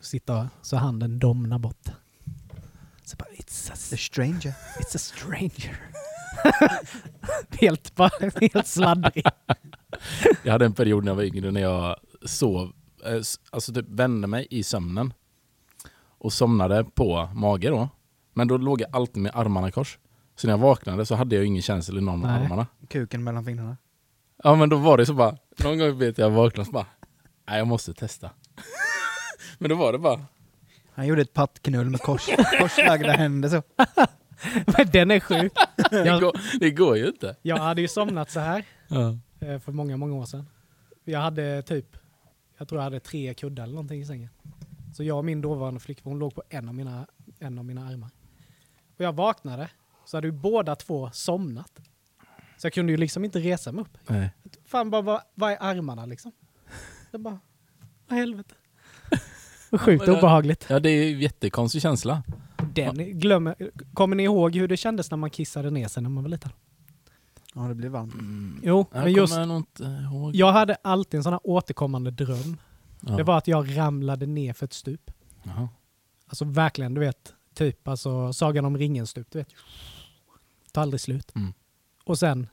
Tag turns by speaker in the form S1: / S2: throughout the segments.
S1: sitta så handen domnar bort. Så bara, it's a,
S2: The stranger.
S1: it's a stranger. helt, bara, helt sladdrig.
S3: Jag hade en period när jag var yngre när jag sov, eh, s- alltså typ vände mig i sömnen och somnade på mage då. Men då låg jag alltid med armarna i kors. Så när jag vaknade så hade jag ju ingen känsla i någon av
S1: Nej.
S3: armarna.
S2: Kuken mellan fingrarna.
S3: Ja men då var det så bara, någon gång vet jag vaknade och så bara, nej jag måste testa. men då var det bara,
S2: Han gjorde ett pattknull med kors, korslagda händer så.
S1: Men den är sjuk.
S3: det
S1: Jag,
S3: går, det går ju inte.
S1: jag hade ju somnat så här
S3: Ja.
S1: eh, för många, många år sedan. Jag hade typ, jag tror jag hade tre kuddar eller någonting i sängen. Så jag och min dåvarande flickvän hon låg på en av mina, en av mina armar. Och jag vaknade, så hade ju båda två somnat. Så jag kunde ju liksom inte resa mig upp.
S3: Nej.
S1: Fan, bara, vad, vad är armarna liksom? Jag bara, vad i helvete. Och sjukt
S3: men eh, det-
S1: obehagligt.
S3: Ja det är ju jättekonstig känsla.
S1: Den glömmer, kommer ni ihåg hur det kändes när man kissade ner sig när man var liten?
S2: Ja, det blir varmt.
S1: Jo,
S3: Jag
S1: Mm. men just,
S3: kommer nog inte ihåg.
S1: jag hade alltid en sån här återkommande dröm.
S3: Ja.
S1: Det var att jag ramlade ner för ett stup.
S3: Jaha.
S1: Alltså verkligen, du vet, typ alltså Sagan om ringen-stup, du vet. Tar aldrig slut.
S3: Mm.
S1: Och sen,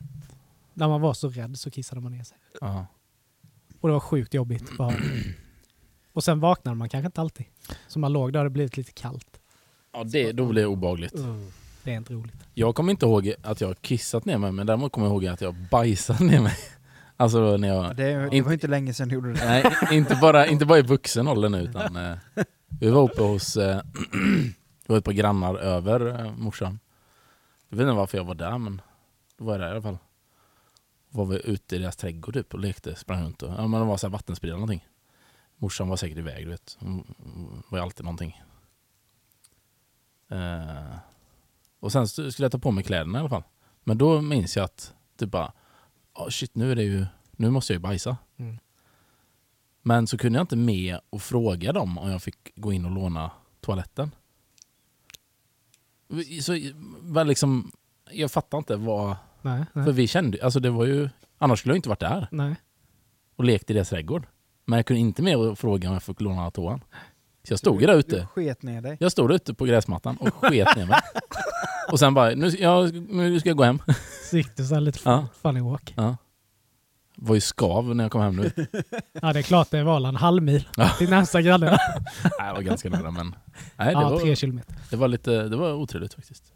S1: när man var så rädd så kissade man ner sig.
S3: Ja.
S1: Och det var sjukt jobbigt. bara. Och sen vaknade man kanske inte alltid. Så man låg där och det blivit lite kallt.
S3: Ja, det, då blir det obehagligt.
S1: Det är inte roligt.
S3: Jag kommer inte ihåg att jag har kissat ner mig, men däremot kommer jag ihåg att jag har bajsat ner mig. Alltså när
S2: Ja,
S3: jag...
S2: Det, det var inte länge sedan du gjorde det.
S3: Nej, inte bara, inte bara i vuxen ålder nu utan... Eh, vi var uppe hos... Eh, vi var ett par grannar över eh, morsan. Jag vet inte varför jag var där, men då var jag där i alla fall. Var vi ute i deras trädgård typ och lekte, sprang runt och... Ja men det var så här vattenspridare eller någonting. Morsan var säkert iväg du vet. Hon hon var ju alltid någonting. Eh, och sen så skulle jag ta på mig kläderna i alla fall. Men då minns jag att typ bara... Oh shit, nu är det ju... Nu måste jag ju bajsa.
S1: Mm.
S3: Men så kunde jag inte med och fråga dem om jag fick gå in och låna toaletten. Vi- Så var liksom... Jag fattar inte vad...
S1: Nej, nej.
S3: För vi kände alltså det var ju... Annars skulle jag inte varit där
S1: nej.
S3: och lekt i deras trädgård. Men jag kunde inte med och fråga om jag fick låna toan. Så jag stod ju där
S2: Du
S3: ute.
S2: sket ner dig.
S3: Jag stod där ute på gräsmattan och sket ner mig. Och sen bara, nu, ja, nu ska jag gå hem.
S1: Så gick det så här lite
S3: Ja.
S1: funny walk.
S3: Ja. Var ju skav när jag kom hem nu.
S1: Ja, det är klart det var en halv mil
S3: Ja.
S1: till närmsta granne.
S3: Nej, jag var ganska nära men... Nej, det,
S1: Ja, tre
S3: var,
S1: kilometer.
S3: det var lite, det var otrevligt faktiskt.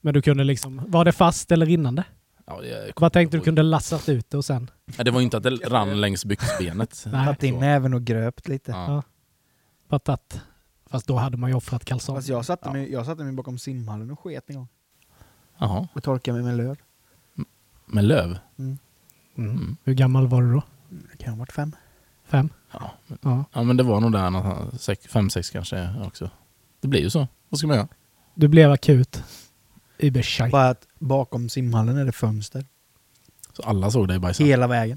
S1: Men du kunde liksom, var det fast eller rinnande?
S3: Ja, jag,
S1: Vad tänkte du kunde lassat ut det och sen?
S3: Ja, det var ju inte att det rann längs byxbenet.
S1: Nej,
S2: Satt in näven och gröpt lite.
S3: Ja.
S1: patat. Fast då hade man ju offrat kalsong.
S2: Fast jag satte, mig, jag satte mig bakom simhallen och sket en gång.
S3: Jaha,
S2: Och torkade mig med löv.
S3: med löv.
S1: Mm. Hur gammal var du då?
S2: Det kan ha varit fem.
S1: Fem?
S3: Ja, men,
S1: Ja.
S3: ja, men det var nog där någonstans, sex- fem, sex kanske också. Det blir ju så. Vad ska man göra?
S1: Du blev akut überscheit.
S2: Bara att bakom simhallen är det fönster.
S3: Så alla såg dig bajsa.
S2: Hela vägen.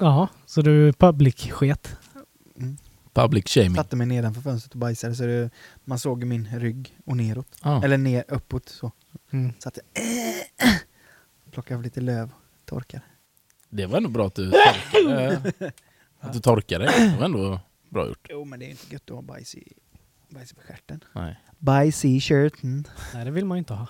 S1: Ja, så du public-sket.
S3: Public shaming.
S2: Satte mig nedanför fönstret och bajsade så det, man såg min rygg och neråt.
S3: Ja.
S2: Eller ner, uppåt så.
S1: Mm.
S2: Så att jag plockade av lite löv, torkade.
S3: Det var ändå bra att du torkade. att du torkade. Det var ändå bra gjort.
S2: Jo men det är inte gött att ha bajs i, bajs i stjärten.
S3: Nej.
S2: Bajs i skärten.
S1: Nej, det vill man ju inte ha.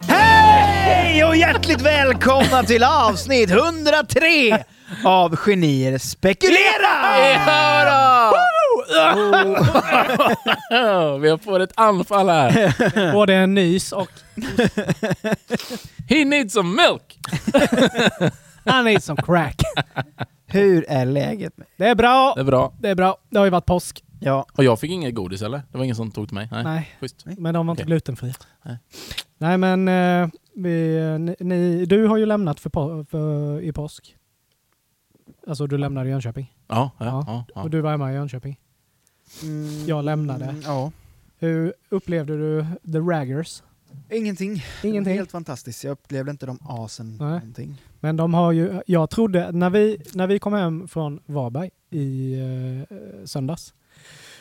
S2: Hej och hjärtligt välkomna till avsnitt 103 av Genier spekulerar!
S3: Vi har fått ett anfall här.
S1: Både en nys och
S3: He needs some milk!
S1: han är som crack.
S2: Hur är läget?
S1: Det är bra.
S3: Det är bra.
S1: Det är bra. Det har ju varit påsk.
S2: Ja,
S3: Och jag fick inget godis eller? Det var ingen som tog till mig? Nej.
S1: Nej,
S3: Schysst.
S1: men de var inte
S3: Okej.
S1: glutenfria.
S3: Nej.
S1: Nej, men eh, vi, ni, ni, du har ju lämnat för, på- för, i påsk. Alltså du lämnade Jönköping.
S3: Ja, ja, ja.
S1: Och
S3: ja,
S1: du var hemma i Jönköping.
S2: Mm,
S1: Jag lämnade.
S2: mm, Ja.
S1: Hur upplevde du The Raggers?
S2: Ingenting. Det var
S1: Ingenting.
S2: Helt fantastiskt. Jag upplevde inte de asen
S1: Nej.
S2: någonting.
S1: Men de har ju, jag trodde, när vi, när vi kom hem från Varberg i eh, söndags,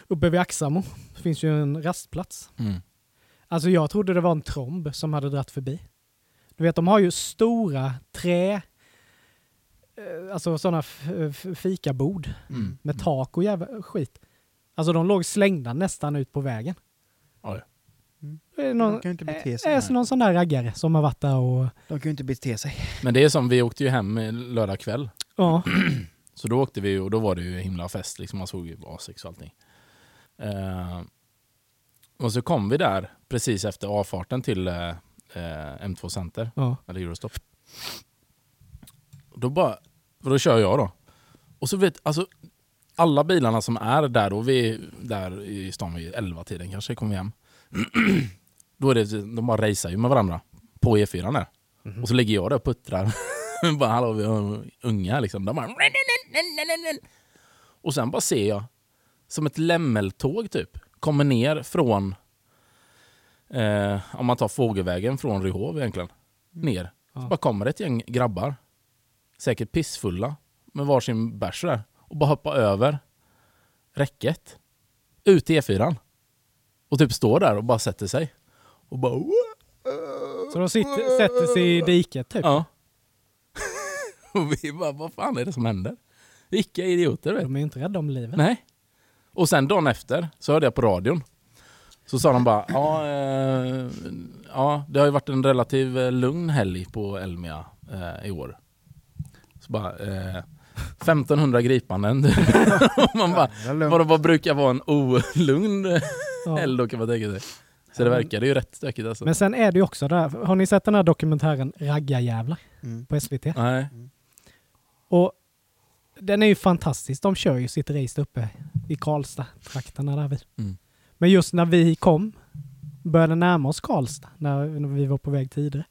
S1: uppe vid Axamo, finns ju en rastplats.
S3: Mm.
S1: Alltså jag trodde det var en tromb som hade dratt förbi. Du vet, de har ju stora trä... eh, Alltså sådana f- f- fikabord
S3: Mm.
S1: med tak och jävla skit. Alltså de låg slängda nästan ut på vägen.
S3: Oj.
S2: Mm.
S1: Det är någon,
S2: De kan ju inte bete sig
S1: är,
S2: här.
S1: är någon sån där raggare som har varit där och...
S2: De kan ju inte bete sig.
S3: Men det är som, vi åkte ju hem eh, lördag kväll.
S1: Ja.
S3: Så då åkte vi ju- och då var det ju himla fest. Liksom. Man såg ju A6 och allting. Eh, och så kom vi där precis efter avfarten till eh, eh, M2 Center.
S1: ja.
S3: Eller Eurostop. Då bara, för då kör jag då. Och så vet, alltså alla bilarna som är där och vi är där i stan vid 11 tiden kanske kommer vi hem. då är det, de bara racear ju med varandra på E4 där. Och så ligger jag där och puttrar. bara hallå, vi har unga liksom. De bara... Och sen bara ser jag som ett lämmeltåg typ kommer ner från eh, om man tar fågelvägen från Ryhov egentligen ner. Så
S1: Ja.
S3: bara kommer ett gäng grabbar, säkert pissfulla, med varsin bärs där och bara hoppar över räcket ut till E4 och typ står där och bara sätter sig. Och bara...
S1: Så de sitter, sätter sig i diket typ.
S3: Ja. och vi bara, vad fan är det som händer? Vilka idioter vet du?
S1: De är ju inte rädda om livet.
S3: Nej. Och sen dagen efter så hörde jag på radion. Så sa de bara, ja, eh, ja det har ju varit en relativ eh, lugn helg på Elmia eh, i år. Så bara, eh, 1500 gripanden. Och Man bara, vadå, vad brukar vara en olugn eh, helg då kan man tänka sig. Så det verkade ju rätt stökigt alltså.
S1: Men sen är det ju också det här, har ni sett den här dokumentären Raggarjävlar
S2: Mm.
S1: på SVT?
S3: Nej.
S1: Och den är ju fantastisk. De kör ju sitt race där uppe i Karlstad, trakterna där vid.
S3: Mm.
S1: Men just när vi kom, började närma oss Karlstad, när när vi var på väg tidigare.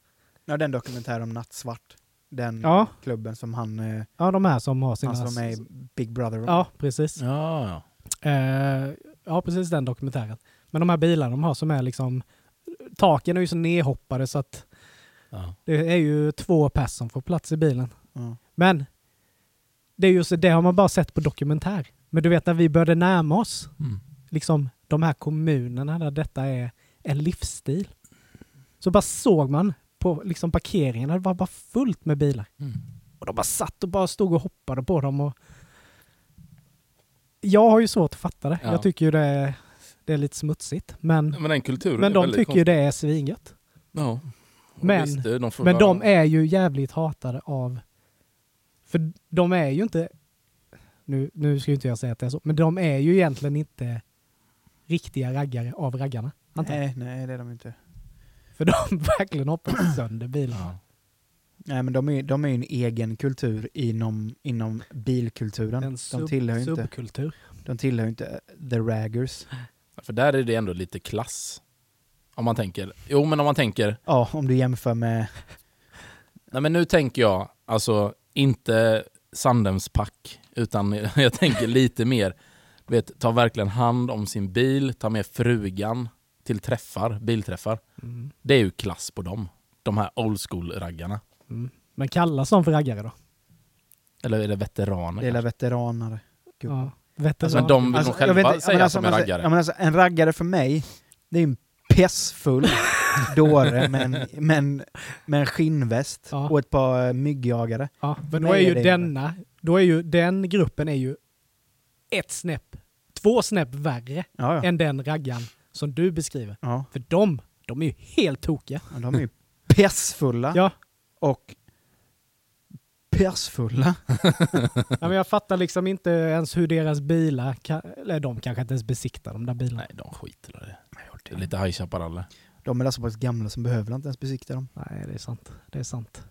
S2: Ja, den dokumentären om Nattsvart. Den
S1: Ja.
S2: klubben som han, eh,
S1: Ja, de här som har sina...
S2: han som Mm. Alltså, är Big Brother.
S1: Ja, precis.
S3: Ja, ja.
S1: Eh, ja, precis den dokumentären. Men de här bilarna de har som är liksom... Taken är ju så nedhoppade så att
S3: ja.
S1: det är ju två pers som får plats i bilen.
S2: Ja.
S1: Men det är just det har man bara sett på dokumentär. Men du vet när vi började närma oss
S3: Mm.
S1: liksom de här kommunerna där detta är en livsstil. Så bara såg man på liksom parkeringarna, det var bara fullt med bilar.
S3: Mm.
S1: Och de bara satt och bara stod och hoppade på dem. Och... Jag har ju svårt att fatta det.
S3: Ja.
S1: Jag tycker ju det är, det är lite smutsigt. Men,
S3: Men den kulturen
S1: men
S3: är
S1: de
S3: väldigt
S1: tycker ju det är svingött.
S3: Ja.
S1: Men-
S3: Visst, det är de får
S1: Men
S3: vara-
S1: de är ju jävligt hatade av... För de är ju inte... Nu, nu ska ju inte jag säga att det är så, men de är ju egentligen inte riktiga raggare av raggarna. antar jag.
S2: Nej, nej, det är de inte.
S1: För de verkligen hoppar sönder bilarna.
S3: Ja.
S2: Nej, men de är ju de är ju en egen kultur inom, inom bilkulturen.
S1: En
S2: de,
S1: sub-
S2: tillhör ju inte,
S1: subkultur.
S2: de tillhör ju inte eh, the raggers.
S3: För där är det ändå lite klass. Om man tänker, jo men om man tänker,
S2: Ja, om du jämför med...
S3: nej men nu tänker jag, alltså inte Sandhemspack, utan jag tänker lite mer, du vet, ta verkligen hand om sin bil, ta med frugan till träffar, bilträffar.
S1: Mm.
S3: Det är ju klass på dem. De här old school-raggarna.
S1: Mm. Men kallas de för raggare då?
S3: Eller är det veteraner?
S2: Lilla
S3: kanske?
S2: veteranare. Gubbar.
S1: Ja. Veteran.
S3: Alltså, men de vill nog
S2: Alltså,
S3: själva
S2: jag vet inte,
S3: säga
S2: men
S3: att de är
S2: men
S3: raggare.
S2: ja, men alltså, en raggare för mig, det är en pessfull dåre med en, med en, med en skinnväst
S1: Ja.
S2: och ett par eh, myggjagare.
S1: ja, men då
S2: Nej,
S1: är ju
S2: det är
S1: denna, då är ju den gruppen är ju ett snäpp, två snäpp värre
S2: Ja, ja.
S1: än den raggan som du beskriver.
S2: ja.
S1: För de, de är ju helt tokiga.
S2: men De är ju pessfulla
S1: Ja,
S2: och pessfulla.
S1: ja men jag fattar liksom inte ens hur deras bilar, kan, eller de kanske inte ens besiktar de där bilarna.
S3: Nej, de skiter i det. Det är lite High Chaparral. där.
S2: De är alltså bara så gamla som behöver inte ens besikta dem.
S1: Nej. det är sant. Det är sant.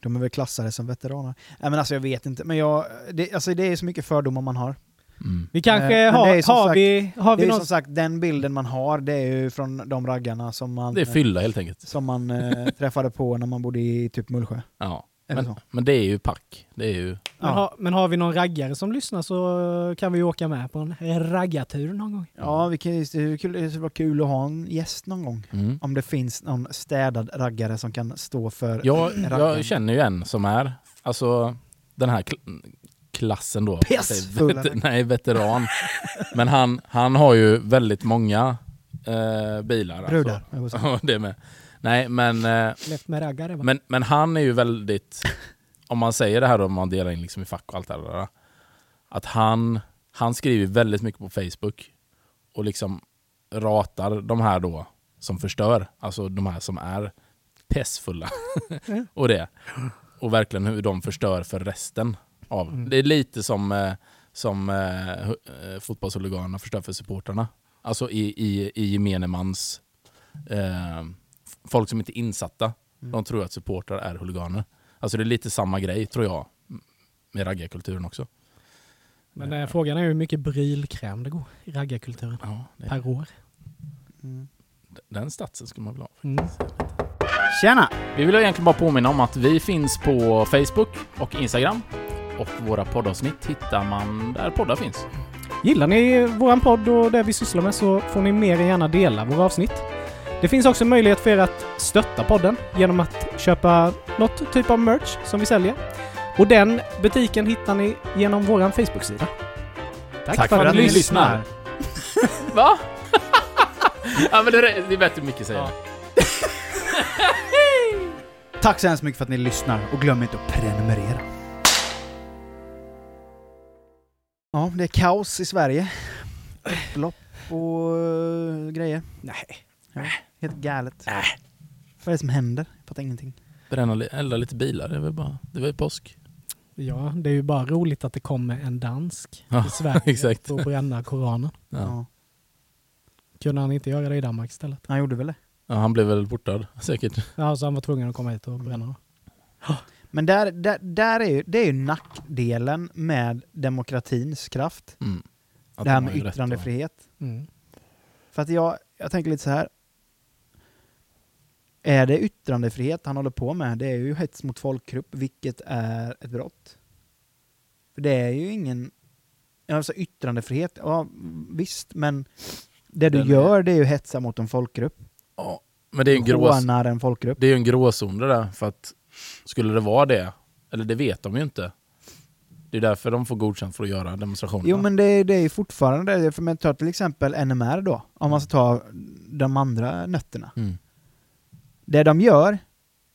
S2: De är väl klassade som veteraner. Nej men alltså jag vet inte, men jag, det, alltså, det är så mycket fördomar man har.
S3: Mm.
S1: Vi kanske
S2: Eh, men det är
S1: har,
S2: som
S1: har,
S2: sagt-
S1: vi, har
S2: Det
S1: vi
S2: är
S1: någon...
S2: som sagt den bilden man har, det är ju från de raggarna som man,
S3: Det är fylla helt enkelt.
S2: som man eh, träffade på när man bodde i typ Mullsjö.
S3: Ja.
S2: Eller
S3: Men,
S2: så.
S3: men det är ju pack. Det är ju...
S1: Men,
S2: Ja.
S1: har, men har vi någon raggare som lyssnar så kan vi ju åka med på en raggartur någon gång.
S2: Ja, vi kan, det är kul- det skulle vara kul att ha en gäst någon gång.
S3: Mm.
S2: Om det finns någon städad raggare som kan stå för...
S3: Jag,
S2: raggaren.
S3: jag känner ju en som är, alltså den här kl- klassen då.
S2: Pissfulla
S3: Vet- Nej, veteran. Men han, han har ju väldigt många eh, bilar.
S2: Brudar.
S3: Alltså. Ja, det med. Nej, men, eh,
S1: Left med raggare va?
S3: men, men han är ju väldigt... Om man säger det här då, om man delar in liksom i fack och allt det där. Att han, han skriver väldigt mycket på Facebook. Och liksom ratar de här då som förstör. Alltså de här som är pessfulla. och det. Och verkligen hur de förstör för resten. av.
S1: Mm.
S3: Det är lite som, eh, som eh, hu- eh, fotbollshuliganerna förstör för supportrarna. Alltså i, i, i gemene mans... Eh, f- folk som inte är insatta. De tror att supportrar är huliganer. Alltså det är lite samma grej tror jag. Med raggarkulturen också.
S1: Men eh, frågan är hur mycket brylkräm det går i raggarkulturen
S3: Ja, det,
S1: per år.
S2: Mm.
S3: den statsen skulle man vilja ha.
S1: Mm.
S2: Tjena!
S3: Vi vill egentligen bara påminna om att vi finns på Facebook och Instagram. Och våra poddavsnitt hittar man där poddar finns.
S1: Gillar ni våran podd och det vi sysslar med så får ni mer än gärna dela våra avsnitt. Det finns också möjlighet för er att stötta podden genom att köpa något typ av merch som vi säljer. Och den butiken hittar ni genom våran Facebook-sida.
S2: Tack,
S3: för att ni lyssnar. Va? ja men det är, det är bättre mycket säger
S1: Ja.
S3: det.
S2: Tack så hemskt mycket för att ni lyssnar och glöm inte att prenumerera. Ja, det är kaos i Sverige. Upplopp och eh, grejer.
S1: Nej.
S2: Helt galet. Vad är det som händer? Jag fattar ingenting.
S3: Bränna, li- elda lite bilar, det är väl bara, det var ju påsk.
S1: Ja, det är ju bara roligt att det kommer en dansk
S3: Ja,
S1: till Sverige
S3: exakt.
S1: för att bränna Koranen.
S3: Ja.
S2: Ja.
S1: Kunde han inte göra det i Danmark istället?
S2: Han gjorde väl det.
S3: Ja, han blev väl bortad säkert.
S1: Ja, så han var tvungen att komma hit och bränna. dem.
S2: Men där, där, där är ju, det är ju nackdelen med demokratins kraft.
S3: Mm. Att
S2: det här
S3: de har
S2: med
S3: ju rätt att-
S2: yttrandefrihet.
S1: Mm.
S2: För att jag, jag tänker lite så här. Är det yttrandefrihet han håller på med? Det är ju hets mot folkgrupp, vilket är ett brott. För det är ju ingen... Alltså yttrandefrihet, ja visst, men det du
S3: Den är-
S2: gör det är ju hetsa mot en folkgrupp.
S3: Ja, men det är ju en grå,
S2: Hånar en folkgrupp.
S3: Det är ju en gråzon det där, för att skulle det vara det, eller det vet de ju inte. Det är därför de får godkänt för att göra demonstrationerna.
S2: Jo men det är, det är ju fortfarande det. För men ta till exempel NMR då, om man ska ta de andra nötterna.
S3: Mm.
S2: Det de gör,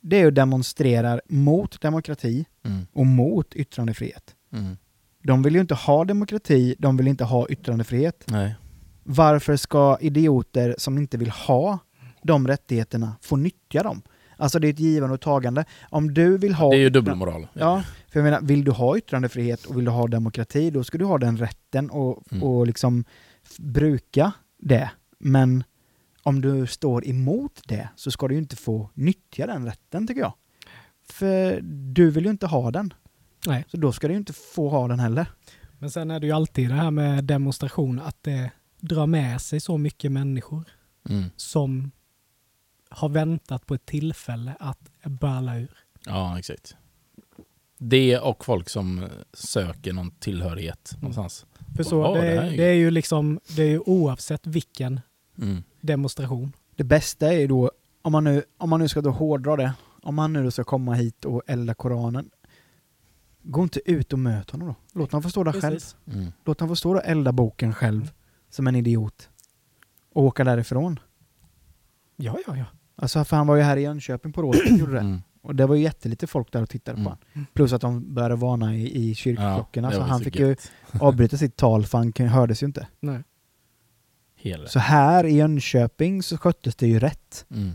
S2: det är ju demonstrerar mot demokrati
S3: Mm.
S2: och mot yttrandefrihet.
S3: Mm.
S2: De vill ju inte ha demokrati, de vill inte ha yttrandefrihet.
S3: Nej.
S2: Varför ska idioter som inte vill ha de rättigheterna få nyttja dem? Alltså det är ett givande och tagande. Om du vill ha...
S3: Det är ju dubbelmoral.
S2: Ja, för jag menar, vill du ha yttrandefrihet och vill du ha demokrati, då ska du ha den rätten och,
S3: Mm.
S2: och liksom f- bruka det. Men om du står emot det så ska du ju inte få nyttja den rätten tycker jag. För du vill ju inte ha den.
S1: Nej.
S2: Så då ska du ju inte få ha den heller.
S1: Men sen är det ju alltid det här med demonstration, att det drar med sig så mycket människor
S3: Mm.
S1: som har väntat på ett tillfälle att balla ur.
S3: ja, exakt. Det och folk som söker någon tillhörighet
S2: Mm.
S3: någonstans.
S1: För så,
S3: Wow,
S1: det,
S3: det
S1: är,
S3: här är ju-
S1: det är ju liksom, det är ju oavsett vilken
S3: Mm.
S1: demonstration.
S2: Det bästa är ju då, om man nu, om man nu ska då hårdra det, om han nu då ska komma hit och elda Koranen, gå inte ut och möt honom då. Låt honom få stå där själv.
S1: Precis.
S3: Mm.
S2: Låt honom få stå där och elda boken själv, som en idiot. Och åka därifrån.
S1: Ja, ja, ja.
S2: Alltså för han var ju här i Jönköping på rådet och gjorde det.
S3: Mm.
S2: Och det var ju jättelite folk där och tittade
S3: Mm.
S2: på honom. Plus att de började varna i, i kyrkklockorna,
S3: det
S2: så
S3: var
S2: han
S3: så
S2: fick ju
S3: gött.
S2: avbryta sitt tal för han kun- hördes ju inte.
S1: Nej.
S3: Hela.
S2: Så här i Jönköping så sköttes det ju rätt.
S3: Mm.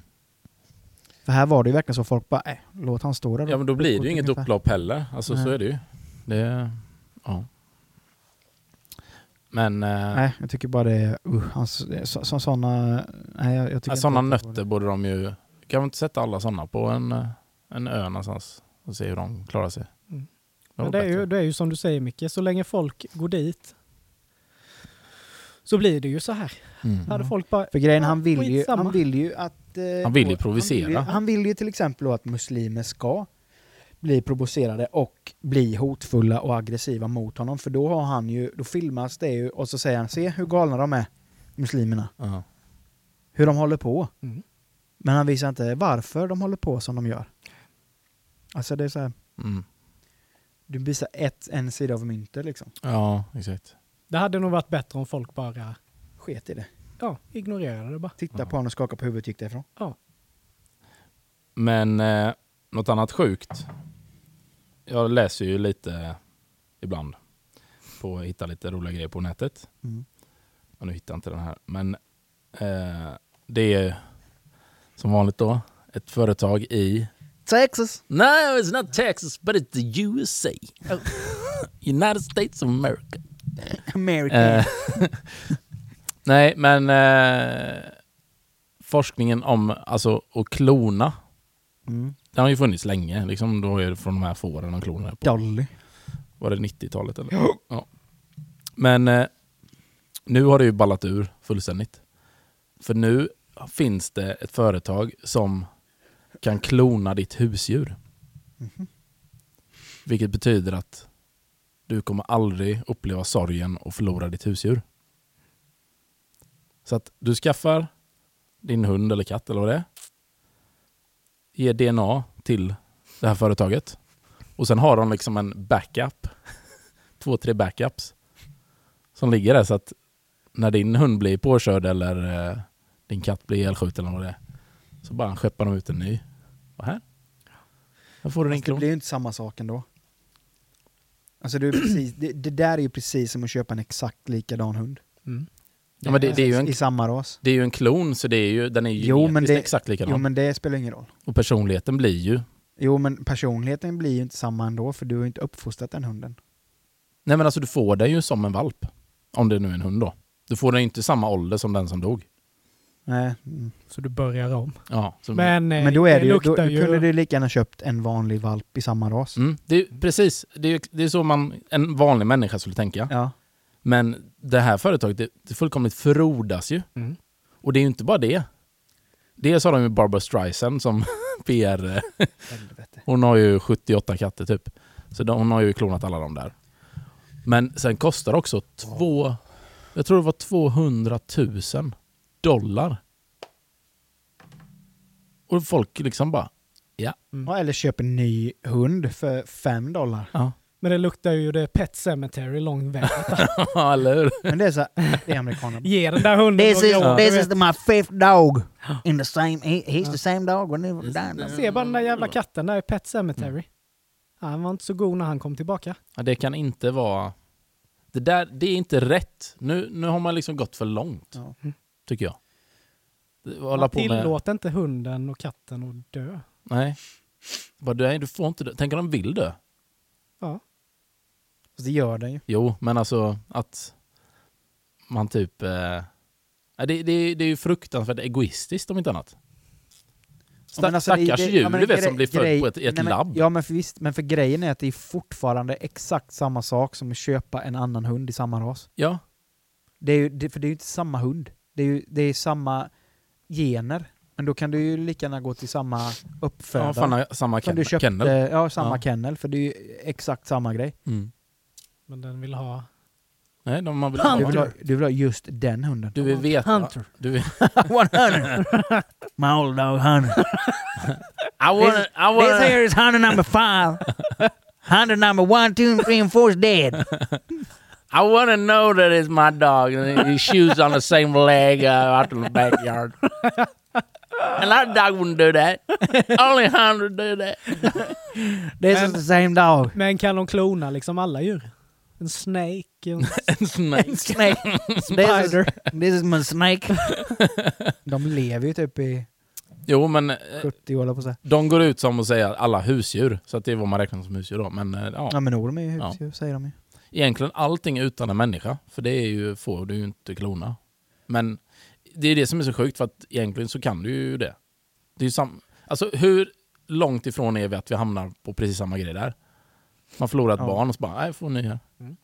S2: För här var det ju verkligen så folk bara, äh, låt han stå där då."
S3: Ja, men då blir det ju inget
S2: Ungefär.
S3: upplopp heller. Alltså så
S2: Nej.
S3: är det ju. Det, ja. Men... eh,
S2: Nej, jag tycker bara det är... Uh, hans, så, så, såna, nej, jag, jag tycker inte
S3: sådana
S2: att det var
S3: nötter borde de ju... Kan vi inte sätta alla sådana på en, eh, en ö någonstans och se hur de klarar sig?
S1: Mm.
S3: Det var
S1: Men det är,
S3: bättre.
S1: ju, det är ju som du säger Micke, så länge folk går dit så blir det ju så här.
S3: Mm.
S1: Hade
S2: Ja.
S1: folk bara...
S2: För grejen,
S1: Ja,
S2: han vill ju,
S1: skitsamma.
S2: han vill ju att... eh,
S3: Han vill ju
S2: och- Han vill
S3: provocera.
S2: ju, han vill ju till exempel då att muslimer ska bli provocerade och bli hotfulla och aggressiva mot honom. För då har han ju, då filmas det ju och så säger han se hur galna de är, muslimerna.
S3: Ja.
S2: Hur de håller på.
S1: Mm.
S2: Men han visar inte varför de håller på som de gör. Alltså det är så här,
S3: Mm.
S2: du visar ett, en sida av myntet liksom.
S3: ja, exakt.
S1: Det hade nog varit bättre om folk bara
S2: Sket i det.
S1: ja, ignorerade det bara.
S2: Titta
S3: Ja.
S2: på honom och skaka på huvudet och gick därifrån.
S1: Ja.
S3: Men eh, något annat sjukt. Jag läser ju lite ibland på att hitta lite roliga grejer på nätet.
S2: Mm.
S3: Ja, nu hittar jag inte den här. Men eh, det är som vanligt då ett företag i...
S2: Texas!
S3: No, it's not Texas, but it's the USA. United States of America.
S2: American.
S3: Eh, Nej, men eh, forskningen om alltså, att klona,
S2: Mm.
S3: den har ju funnits länge. Liksom, då är det från de här fåren de klonade på.
S2: Dolly.
S3: Var det 90-talet eller? Ja. Men eh, nu har det ju ballat ur fullständigt. För nu finns det ett företag som kan klona ditt husdjur. Vilket betyder att du kommer aldrig uppleva sorgen och förlora ditt husdjur. Så att du skaffar din hund eller katt eller vad det är. Ger DNA till det här företaget. Och sen har de liksom en backup. Två, tre backups. Som ligger där så att när din hund blir påkörd eller eh, din katt blir ihjälskjuten eller vad det är. Så bara skeppar de ut en ny. Och här. Här får du din
S2: Fast det
S3: klon.
S2: blir ju inte samma sak ändå. Alltså det, är precis, det, det där är ju precis som att köpa en exakt likadan hund.
S1: Mm.
S3: Ja, men det, det är ju en
S2: I samma ras.
S3: Det är ju en klon, så det är ju, den är ju
S2: Jo, men
S3: genetiskt
S2: det-
S3: exakt likadan.
S2: Jo men det spelar ingen roll.
S3: Och personligheten blir ju...
S2: Jo men personligheten blir ju inte samma ändå för du har ju inte uppfostrat den hunden.
S3: Nej men alltså du får den ju som en valp. Om det nu är en hund då. Du får den ju inte i samma ålder som den som dog.
S2: Nej. mm.
S1: Så du börjar om.
S3: Ja, så,
S1: Men, eh,
S2: Men då, är det ju, då
S1: luktar ju...
S2: kunde du lika gärna köpt en vanlig valp i samma ras.
S3: mm, det är, ju- precis, det är, ju- det är så man, en vanlig människa skulle tänka.
S2: Ja.
S3: Men det här företaget, det, det fullkomligt frodas ju.
S1: Mm.
S3: Och det är ju inte bara det. Dels har de ju Barbara Streisand som PR... eh,
S2: Helvete.
S3: Hon har ju 78 katter typ. Så de, hon har ju klonat alla de där. Men sen kostar det också två... Jag tror det var 200 000 dollar. Och folk liksom bara...
S2: Ja, eller köp en ny hund för fem dollar.
S1: Men det luktar ju det Pet Cemetery lång väg.
S3: Ja, eller hur?
S2: Men det är så här, det är amerikaner.
S1: Ge den där hunden
S4: This is
S1: några år.
S4: this
S1: du
S4: is
S1: vet.
S4: the, my fifth dog in the same. He, he's the same dog when he was dying.
S1: Se bara den där jävla katten där i Pet Cemetery. Han var inte så god när han kom tillbaka.
S3: Ja, det kan inte vara... Det där, det är inte rätt. Nu, nu har man liksom gått för långt.
S2: Ja.
S3: Tycker jag. Det- Hålla
S1: Man
S3: på med...
S1: tillåt inte hunden och katten att dö.
S3: Nej. Bara, du, du får inte dö. Tänk om de vill dö?
S1: Ja.
S2: Fast det gör den ju.
S3: Jo, men alltså att man typ... Eh, ja, det, det, det är ju fruktansvärt egoistiskt om inte annat. Sta,
S2: Ja, men alltså, det-
S3: stackars
S2: det-
S3: djur
S2: ja, men
S3: du vet
S2: grej-
S3: som blir
S2: grej-
S3: född på ett, i ett
S2: nej, men,
S3: labb.
S2: Ja men för visst, men för grejen är att det är fortfarande exakt samma sak som att köpa en annan hund i samma ras.
S3: Ja,
S2: Det är ju, det, för det är ju inte samma hund. Det är ju det är samma gener. Men då kan du ju lika gärna gå till samma uppfödare.
S3: ja fan, har jag samma
S2: som
S3: ken,
S2: du köpte,
S3: kennel.
S2: Ja, samma
S3: Ja.
S2: kennel. För det är ju exakt samma grej.
S3: Mm.
S1: Men den vill ha...
S3: Nej, de, man vill,
S2: Du
S3: ha-
S2: vill, ha, du vill ha just den hunden.
S3: du vill veta...
S1: Hunter.
S3: Du vill,
S4: One hundred. My old dog hundred.
S3: I wanna, I
S4: This
S3: wanna,
S4: here is hundred number five. Hundred number one, two, and three, and four is dead.
S3: I wanna know that it's my dog. And his shoes on the same leg uh, out in the backyard. And our dog wouldn't do that. Only Hunter do that.
S4: This is the same dog.
S1: Men kan de klona liksom alla djur? En snake, en
S3: And snake.
S4: Snake. This is,
S1: spider.
S4: this is my snake.
S2: De lever ju typ i
S3: Jo, men eh,
S2: 70 år, höll jag på att säga.
S3: De går ut som att säga alla husdjur, så att det är vad man räknar som husdjur då. Men eh, ja,
S2: Ja men orm är ju
S3: Ja.
S2: husdjur, säger de ju.
S3: egentligen allting utan en människa, för det är ju, får du ju inte klona. Men det är det som är så sjukt, för att egentligen så kan du ju det. det är ju sam- alltså hur långt ifrån är vi att vi hamnar på precis samma grej där? Man förlorar ett
S2: Ja.
S3: barn och så bara, nej, får ni här.
S1: Mm.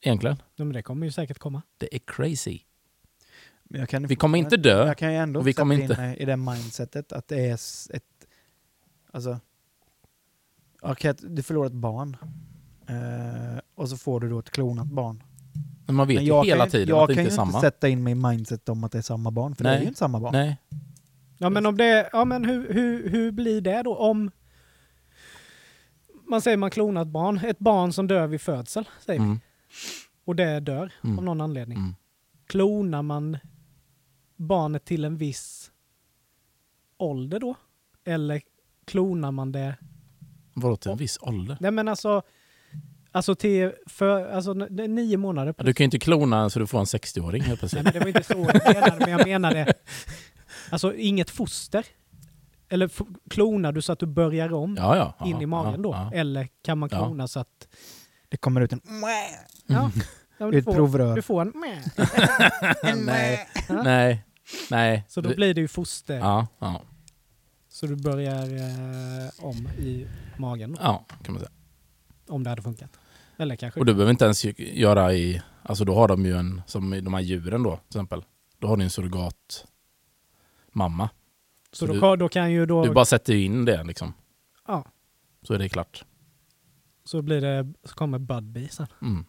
S3: Egentligen,
S1: Ja, men det kommer ju säkert komma.
S3: det är crazy.
S2: Men jag kan ju
S3: Vi kommer inte
S2: fortfarande-
S3: dö.
S2: Jag kan ju ändå
S3: Och vi
S2: sätta
S3: kommer
S2: in
S3: inte-
S2: mig i det mindsetet att det är s- ett... Alltså... Okej, att du förlorar ett barn. Eh, och så får du då ett klonat barn.
S3: Men man vet
S2: Men
S3: ju
S2: jag
S3: hela
S2: kan, ju-
S3: tiden
S2: jag
S3: att det
S2: kan
S3: inte är
S2: ju inte
S3: samma.
S2: sätta in mig i mindset om att det är samma barn, för det
S3: Nej.
S2: är ju inte samma barn.
S3: Nej.
S1: Ja men, om det, ja, men hur, hur, hur blir det då om... Man säger man klonar ett barn. Ett barn som dör vid födsel, säger vi.
S3: Mm.
S1: Och det dör
S3: Mm.
S1: av någon anledning.
S3: Mm.
S1: Klonar man barnet till en viss ålder då? Eller klonar man det?
S3: Vadå till en viss ålder?
S1: Nej men alltså, alltså till för, alltså, n- det är nio månader.
S3: Ja,
S1: På.
S3: Du kan ju inte klona en så du får en 60-åring helt
S1: Nej
S3: plötsligt.
S1: men det var inte så jag menade, men jag menade alltså inget foster. Eller f- klonar du så att du börjar om
S3: Ja, ja. ja,
S1: in i magen
S3: ja,
S1: då?
S3: ja.
S1: Eller kan man
S3: Ja. Mm.
S1: klona så att...
S2: Det kommer ut en...
S1: Ja, ja, men
S2: Ur
S1: du,
S2: ett
S1: får, du
S2: provrör.
S1: får en...
S3: Nej, nej, nej.
S1: Så då
S3: Det-
S1: blir det ju foster.
S3: Ja, ja,
S1: Så du börjar eh, om i magen då,
S3: ja, kan man säga.
S1: om det hade funkat. Eller kanske...
S3: Och du behöver inte ens ju- göra i... Alltså då har de ju en, som i de här djuren då, till exempel. Då har du en surrogatmamma.
S1: så
S3: så
S1: då,
S3: du-
S1: kan- då kan ju då...
S3: Du bara sätter ju in det liksom,
S1: ja,
S3: så är det klart.
S1: så blir det... Så kommer Budbee sen.
S3: Mm.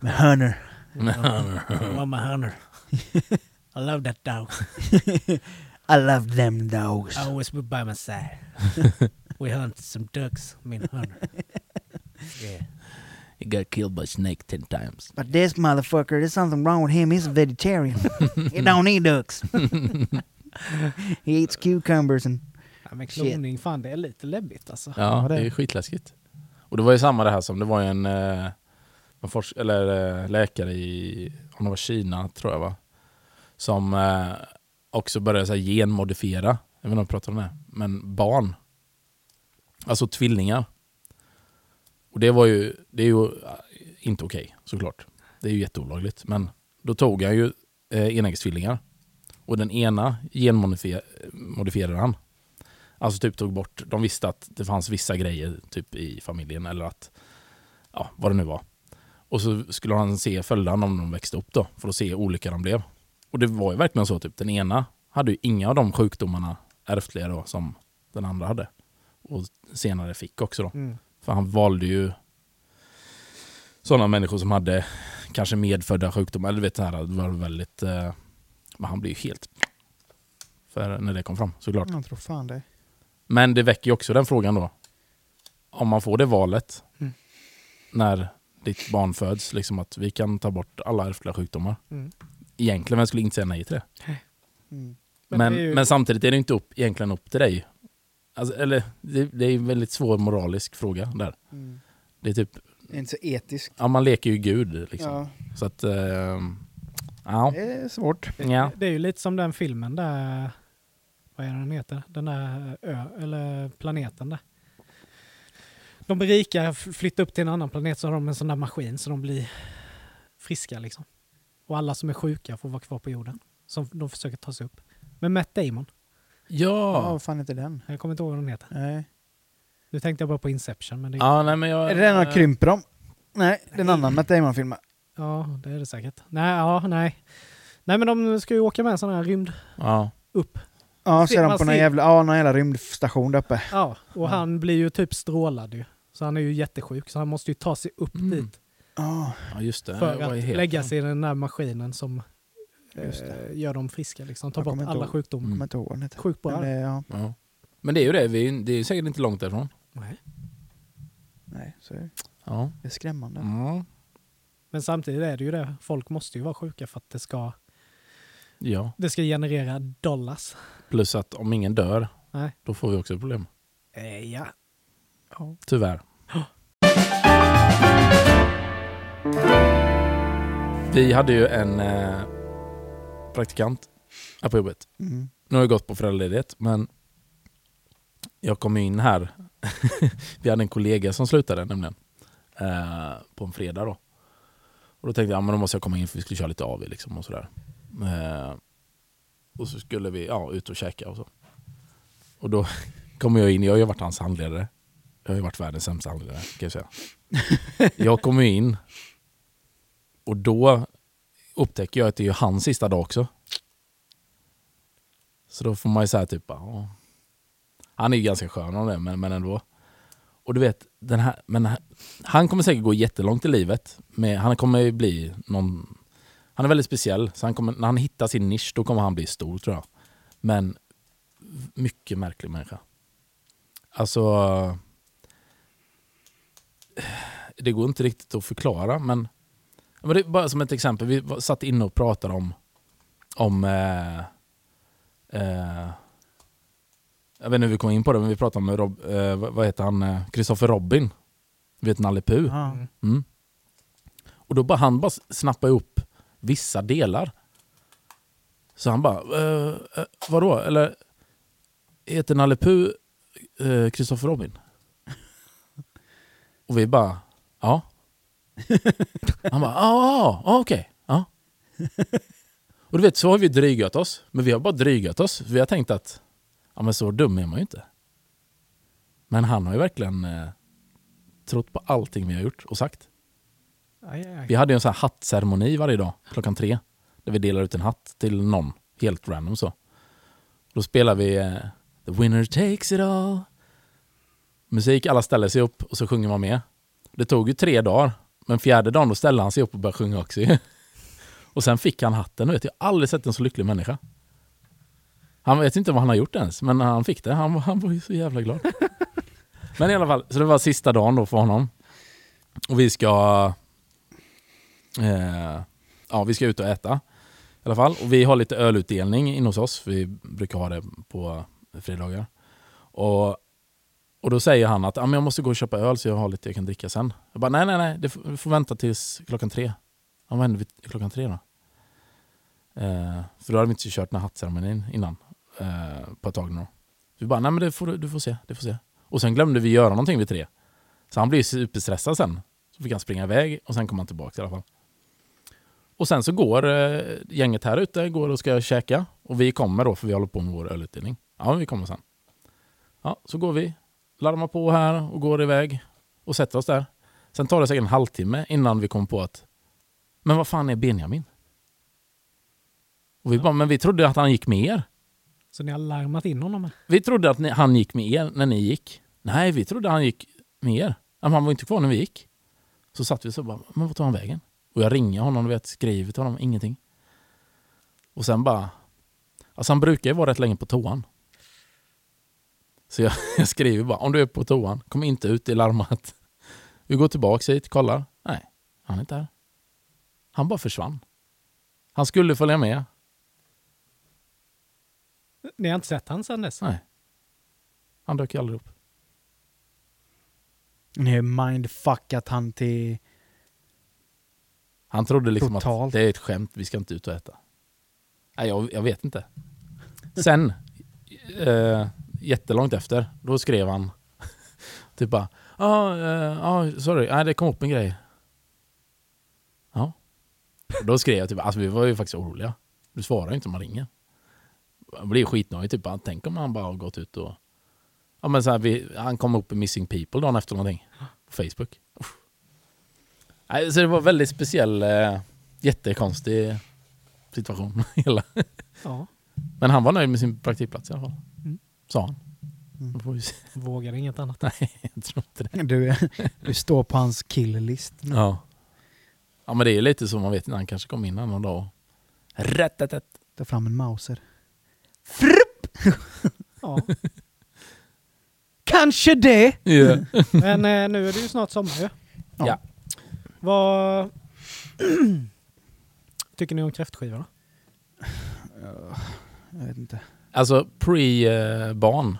S2: Med hönor.
S1: Mama Hunter. I love that dog.
S2: I love them dogs.
S1: always be Oh, by my side. We hunt some ducks, I mean hunter. Yeah.
S3: You got killed by snake ten times.
S4: But this motherfucker, there's something wrong with him. He's a vegetarian. he don't eat ducks.
S2: He eats cucumbers and...
S1: Ja, men
S2: Shit.
S1: kloning, fan det är lite läbbigt alltså.
S3: Ja,
S2: Ja, det-
S3: det är skitläskigt. Och det var ju samma det här som, det var ju en, eh, en forsk- eller, eh, läkare i, om det var Kina tror jag va, som eh, också började så här, genmodifiera, jag vet inte om jag pratar om det, men barn. Alltså tvillingar. Och det var ju, det är ju eh, inte okej såklart. Det är ju jätteolagligt. Men då tog han ju eh, enäggstvillingar. Och den ena genmodifierade han. Alltså typ tog bort, de visste att det fanns vissa grejer typ i familjen eller att, ja vad det nu var. Och så skulle han se följderna om de växte upp då, för att se hur olika de blev. Och det var ju verkligen så, typ den ena hade ju inga av de sjukdomarna ärftliga då som den andra hade. Och senare fick också då.
S1: Mm.
S3: För han valde ju sådana människor som hade kanske medfödda sjukdomar. Eller du vet det här, det var väldigt... Eh, men han blev ju helt... För när det kom fram
S1: Mm.
S3: såklart.
S2: Jag tror fan det.
S3: Men det väcker ju också den frågan då. Om man får det valet
S1: Mm.
S3: när ditt barn föds, liksom att vi kan ta bort alla ärftliga sjukdomar.
S1: Mm.
S3: Egentligen, vem skulle inte säga nej till det?
S2: Mm.
S1: Men
S3: Men,
S1: det
S3: men,
S1: är ju-
S3: samtidigt är det inte upp, egentligen upp till dig. Alltså, eller, det, det är en väldigt svår moralisk fråga där.
S2: Mm.
S3: Det är typ
S2: Det är inte så etiskt.
S3: Ja, man leker ju gud liksom.
S2: Ja.
S3: Så att... Eh, ja.
S2: Det är svårt.
S3: ja.
S1: Det är ju lite som den filmen där, vad är den heter? Den där ö, eller planeten där. De blir rika, f- flyttar upp till en annan planet så har de en sån där maskin så de blir friska liksom. Och alla som är sjuka får vara kvar på jorden. Som de försöker ta sig upp. Men Matt Damon,
S2: Ja,
S3: Ja.
S2: vad fan heter den?
S1: jag kommer inte ihåg vad den heter.
S2: Nej.
S1: Nu tänkte jag bara på Inception men det är, ja.
S3: ja nej, men jag,
S2: Är det den
S3: eh,
S2: han krymper om? Nej, det är en annan Matt Damon-film.
S1: det är det säkert. Nej, ja, nej. Nej men de ska ju åka med en sån här rymd
S3: Ja.
S1: upp.
S2: Ja,
S1: Se-
S2: så är
S1: man
S2: de på någon
S1: ser-
S2: jävla, ja, någon jävla rymdstation där uppe.
S1: Ja, och han blir ju typ strålad ju. Så han är ju jättesjuk så han måste ju ta sig upp
S3: Mm.
S1: dit.
S2: Ja,
S3: ja, just det.
S1: för
S3: Vad
S1: att
S3: heter
S1: lägga
S3: den?
S1: sig i den där maskinen som
S2: Just
S1: eh, gör dem friska. Liksom. Ta
S2: Jag
S1: bort
S2: kommer inte
S1: alla
S2: ihåg.
S1: sjukdomar.
S2: jag
S3: Mm.
S2: kommer inte ihåg vad den heter.
S1: Sjukt bra.
S2: Men det, ja,
S3: Ja. Men det är ju det, vi, det är ju säkert inte långt därifrån.
S1: Nej.
S2: nej, så är det.
S3: Ja. Mm.
S2: det är skrämmande.
S3: Ja.
S1: Men samtidigt är det ju det, folk måste ju vara sjuka för att det ska,
S3: ja.
S1: det ska generera dollars.
S3: Plus att om ingen dör,
S1: Nej.
S3: då får vi också problem.
S1: Eh, ja.
S3: Tyvärr. Vi hade ju en eh, praktikant här på jobbet.
S2: Mm.
S3: Nu har jag gått på föräldraledighet, men jag kom ju in här. Vi hade en kollega som slutade nämligen. Eh, på en fredag då. Och då tänkte jag, ja, men då måste jag komma in för vi skulle köra lite AW liksom och sådär. Eh, och så skulle vi ja, ut och käka och så. Och då kommer jag in, jag har ju varit hans handledare. Jag har ju varit världens sämsta handledare kan jag säga. Jag kommer ju in och då upptäcker jag att det är ju hans sista dag också. Så då får man ju säga typ, ja. Han är ju ganska skön om det, men, men ändå. Och du vet, den här, men han- han kommer säkert gå jättelångt i livet. Men han kommer ju bli någon... Han är väldigt speciell, så han kommer, när han hittar sin nisch då kommer han bli stor tror jag. Men mycket märklig människa. Alltså... Det går inte riktigt att förklara, men... men det är bara som ett exempel, vi var- satt inne och pratade om, om eh, Eh, jag vet inte hur vi kom in på det, men vi pratade om Rob, eh, vad vad heter han? eh, Christopher Robin. Du vet Nalle Puh.
S2: Ja.
S1: Mm.
S3: Mm. Och då bara han bara snappade upp vissa delar. Så han bara, eh, eh, vadå? Eller heter Nalle Puh eh, Christopher Robin? Och vi bara, ja. Han bara, ja, ja, ja, okej. Ja. Och du vet, så har vi drygat oss. Men vi har bara drygat oss. Vi har tänkt att, ja men så dum är man ju inte. Men han har ju verkligen eh, trott på allting vi har gjort och sagt.
S1: Aj, aj, aj.
S3: Vi hade ju en sån här hattceremoni varje dag klockan tre. Där vi delar ut en hatt till någon. Helt random så. Då spelar vi eh, The winner takes it all. Musik, alla ställer sig upp och så sjunger man med. Det tog ju tre dagar. Men fjärde dagen då ställde han sig upp och började sjunga också ju. Och sen fick han hatten. du Vet, jag har aldrig sett en så lycklig människa. Han vet inte vad han har gjort ens, men han fick det. Han, var- han var ju så jävla glad. Men i alla fall, så det var sista dagen då för honom. Och vi ska Eh, ja, vi ska ut och äta i alla fall. Och vi har lite ölutdelning inne hos oss. Vi brukar ha det på fredagar. Och, och då säger han att ah, men jag måste gå och köpa öl så jag har lite jag kan dricka sen. Jag bara nej, nej, nej, det f- du får vänta tills klockan tre. Ja, vad händer vid klockan tre då? Eh, för då hade vi inte kört den här hattceremonin innan. Eh, på ett tag nu. då. Så vi bara, nej men det får, du- du får se, det får se. Och sen glömde vi göra någonting vid tre. Så han blev superstressad sen. Så fick han springa iväg och sen kom han tillbaka i alla fall. Och sen så går eh, gänget här ute går och ska käka. Och vi kommer då, för vi håller på med vår ölutdelning. Ja, vi kommer sen. Ja, så går vi, larmar på här och går iväg och sätter oss där. Sen tar det säkert en halvtimme innan vi kommer på att men vad fan är Benjamin? Och vi bara, men vi trodde att han gick med er.
S1: Så ni har larmat in honom? här?
S3: Vi trodde att ni, han gick med er när ni gick. Nej, vi trodde han gick med er. Men han var inte kvar när vi gick. Så satt vi så bara, men vart tog han vägen? Och jag ringer honom, du vet, skriver till honom, ingenting. Och sen bara, alltså han brukar ju vara rätt länge på toan. Så jag, jag skriver bara, om du är på toan, kom inte ut, det är larmat. Vi går tillbaks hit, kollar. Nej, han är inte här. Han bara försvann. Han skulle följa med,
S1: Ni har inte sett han sedan dess?
S3: nej. Han dök ju aldrig upp.
S2: Ni har ju mindfuckat han till...
S3: Han trodde liksom att
S2: Totalt.
S3: det är ett skämt, vi ska inte ut och äta. Nej, jag, jag vet inte. Sen, eh, jättelångt efter, då skrev han typ bara ah, eh, ah, sorry, nej, det kom upp en grej. Ja. Då skrev jag typ, alltså vi var ju faktiskt oroliga. Du svarar ju inte om man ringer. Jag blir ju skitnöjd, typ, bara, tänk om han bara har gått ut och... Ja, men så här, vi, han kom upp i Missing People dagen efter någonting. På Facebook. Nej, så det var en väldigt speciell, eh, jättekonstig situation. Hela.
S1: Ja.
S3: Men han var nöjd med sin praktikplats i alla fall.
S1: Mm.
S3: Sa han.
S2: Mm.
S3: Då får vi se.
S1: Vågar inget annat.
S3: Nej, jag tror inte det.
S2: Du, du står på hans kill-list.
S3: Ja. ja, men det är lite så man vet inte. Han kanske kom in här någon dag och... Rätt, rätt, rätt.
S2: Ta fram en mauser.
S1: Ja.
S2: Kanske det!
S3: Ja.
S1: Men eh, nu är det ju snart sommar ju.
S2: Ja.
S3: Ja.
S1: Vad tycker ni om kräftskivorna?
S2: Jag vet inte.
S3: Alltså, pre-barn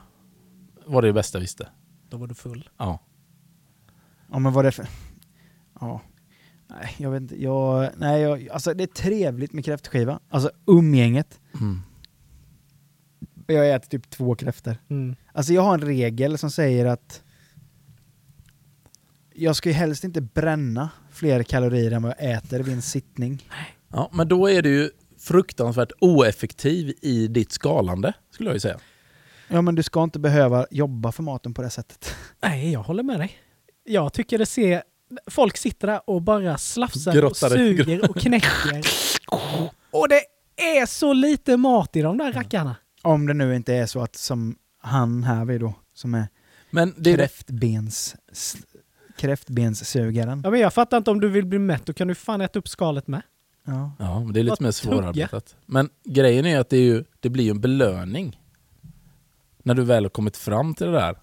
S3: var det bästa jag visste.
S1: Då var du full.
S3: Ja.
S2: Ja men vad det för... Ja. Nej, jag vet inte. Jag, nej, jag, alltså det är trevligt med kräftskiva. Alltså umgänget.
S3: Mm.
S2: Jag äter typ två kräftor.
S1: Mm.
S2: Alltså jag har en regel som säger att jag ska ju helst inte bränna fler kalorier än vad jag äter vid en sittning.
S3: ja, men då är du ju fruktansvärt oeffektiv i ditt skalande, skulle jag ju säga.
S2: Ja men du ska inte behöva jobba för maten på det sättet.
S1: Nej, jag håller med dig. Jag tycker det ser... Folk sitter där och bara slafsar
S3: Grottar i-
S1: och suger och knäcker. Och det är så lite mat i de där rackarna.
S2: Om det nu inte är så att som han här vid då, som är
S3: Men det är det
S2: kräftbens, s- kräftbenssugaren.
S1: Ja, men jag fattar inte om du vill bli mätt, då kan du fan äta upp skalet med.
S2: Ja.
S3: Ja, men det är lite
S1: Vad
S3: mer
S1: tugga.
S3: svårarbetat. Men grejen är att det, är ju, det blir ju en belöning. När du väl har kommit fram till det där.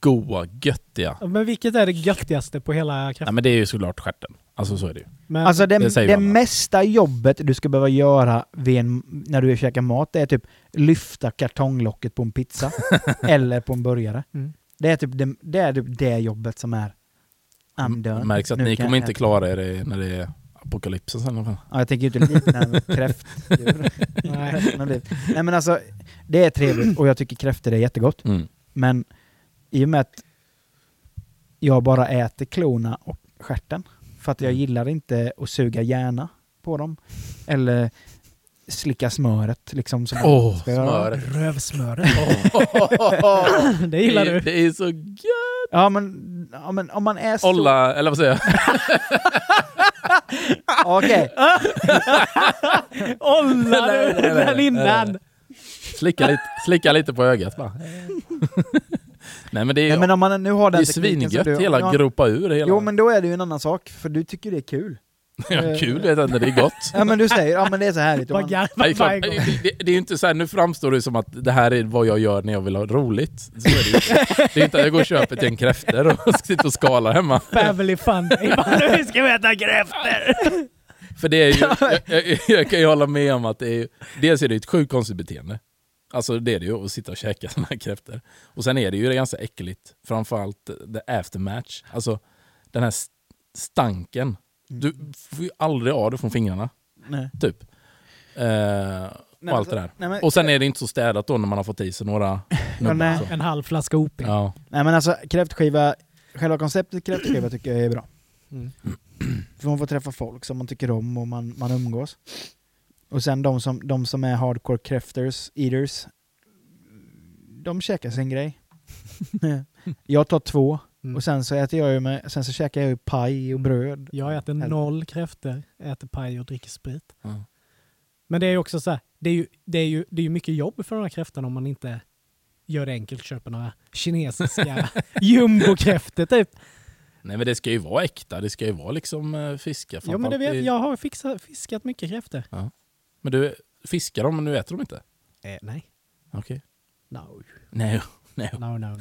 S3: goa, göttiga.
S1: Ja, Men vilket är det göttigaste på hela
S3: Nej
S1: kraften?
S3: men det är ju såklart stjärten. Alltså så är det ju.
S1: Men,
S2: Alltså det,
S3: det
S2: det,
S3: säger man.
S2: mesta jobbet du ska behöva göra vid en, när du käkar mat, det är typ lyfta kartonglocket på en pizza eller på en burgare.
S1: Mm.
S2: Det, är typ det, det är typ det jobbet som är I'm done.
S3: Det märks att
S2: Nu
S3: ni
S2: kan
S3: kommer
S2: jag
S3: inte
S2: äta.
S3: klara er i- när det är apokalypsen sen i alla fall.
S2: Ja, jag tänker ju inte likna en kräftdjur.
S1: nej.
S2: Resten av livet. Nej men alltså, det är trevligt och jag tycker kräftor är jättegott.
S3: Mm.
S2: Men i och med att jag bara äter klona och stjärten, för att jag gillar inte att suga hjärna på dem. Eller slicka smöret liksom. Som
S3: Åh,
S2: Ska jag-
S3: smöret.
S1: Rövsmöret.
S3: Åh,
S1: Det gillar
S3: det,
S1: du.
S3: det är så gött!
S2: Ja, men, ja men om man är så...
S3: Olla, eller vad säger jag?
S2: Okej.
S1: Olla
S3: Nej,
S1: du!
S3: nej, nej,
S1: Den
S3: nej.
S1: innan!
S3: Slicka lite, slicka lite på ögat bara. Nej men det är ju
S2: Nej, men om man nu har
S3: det är
S2: den
S3: ju
S2: tekniken som
S3: svingött,
S2: du-
S3: hela
S2: ja,
S3: gropa ur hela...
S2: Jo men då är det ju en annan sak, för du tycker det är kul.
S3: ja, kul vet jag inte, det är gott.
S2: Ja men du säger, ja men det är så härligt. och
S1: Vad
S2: man-
S3: Nej, det,
S1: garvar
S3: är
S1: varje
S3: klart,
S1: gång.
S3: det, det- det är ju inte så här, nu framstår det som att det här är vad jag gör när jag vill ha roligt. Så är det, ju. inte. det är inte att jag går och köper till en kräfter och sitter och skalar hemma.
S1: Family fun day. Bara, Nu ska vi äta kräftor!
S3: För det är ju, jag, jag, jag kan ju hålla med om att det är ju, dels är det ju ett sjukt konstigt beteende. Alltså det är det ju, att sitta och käka såna här kräftor. Och sen är det ju det ganska äckligt, framförallt the aftermatch. Alltså den här st- stanken. Du får ju aldrig av det från fingrarna,
S2: Nej.
S3: typ. Eh, och allt det där.
S2: Nej, men,
S3: Och sen är det inte så städat då när man har fått i sig några
S2: nej.
S3: nubbar. så.
S1: En halv flaska OP.
S3: Ja.
S2: nej men alltså kräftskiva, själva konceptet kräftskiva tycker jag är bra.
S1: Mm.
S2: För man får träffa folk som man tycker om och man, man umgås. Och sen de som, de som är hardcore kräfters, eaters, de käkar sin grej. jag tar två
S1: Mm.
S2: och sen så äter jag ju med, sen så käkar jag ju paj och bröd.
S1: Jag äter
S2: Helvete.
S1: noll kräftor, äter paj och dricker sprit.
S3: Ja.
S1: Men det är ju också så här, det är ju, det är ju, det är ju mycket jobb för de här kräftorna om man inte gör det enkelt, köper några kinesiska jumbokräftor typ.
S3: Nej men det ska ju vara äkta, det ska ju vara liksom eh, fiska.
S1: Ja, men det
S3: framförallt
S1: vet,
S3: i-
S1: jag har fixat, fiskat mycket kräftor.
S3: men du fiskar dem men du äter dem inte?
S1: Eh, nej.
S3: Okej.
S1: No.
S3: Nej. Nej.
S1: No, no, no.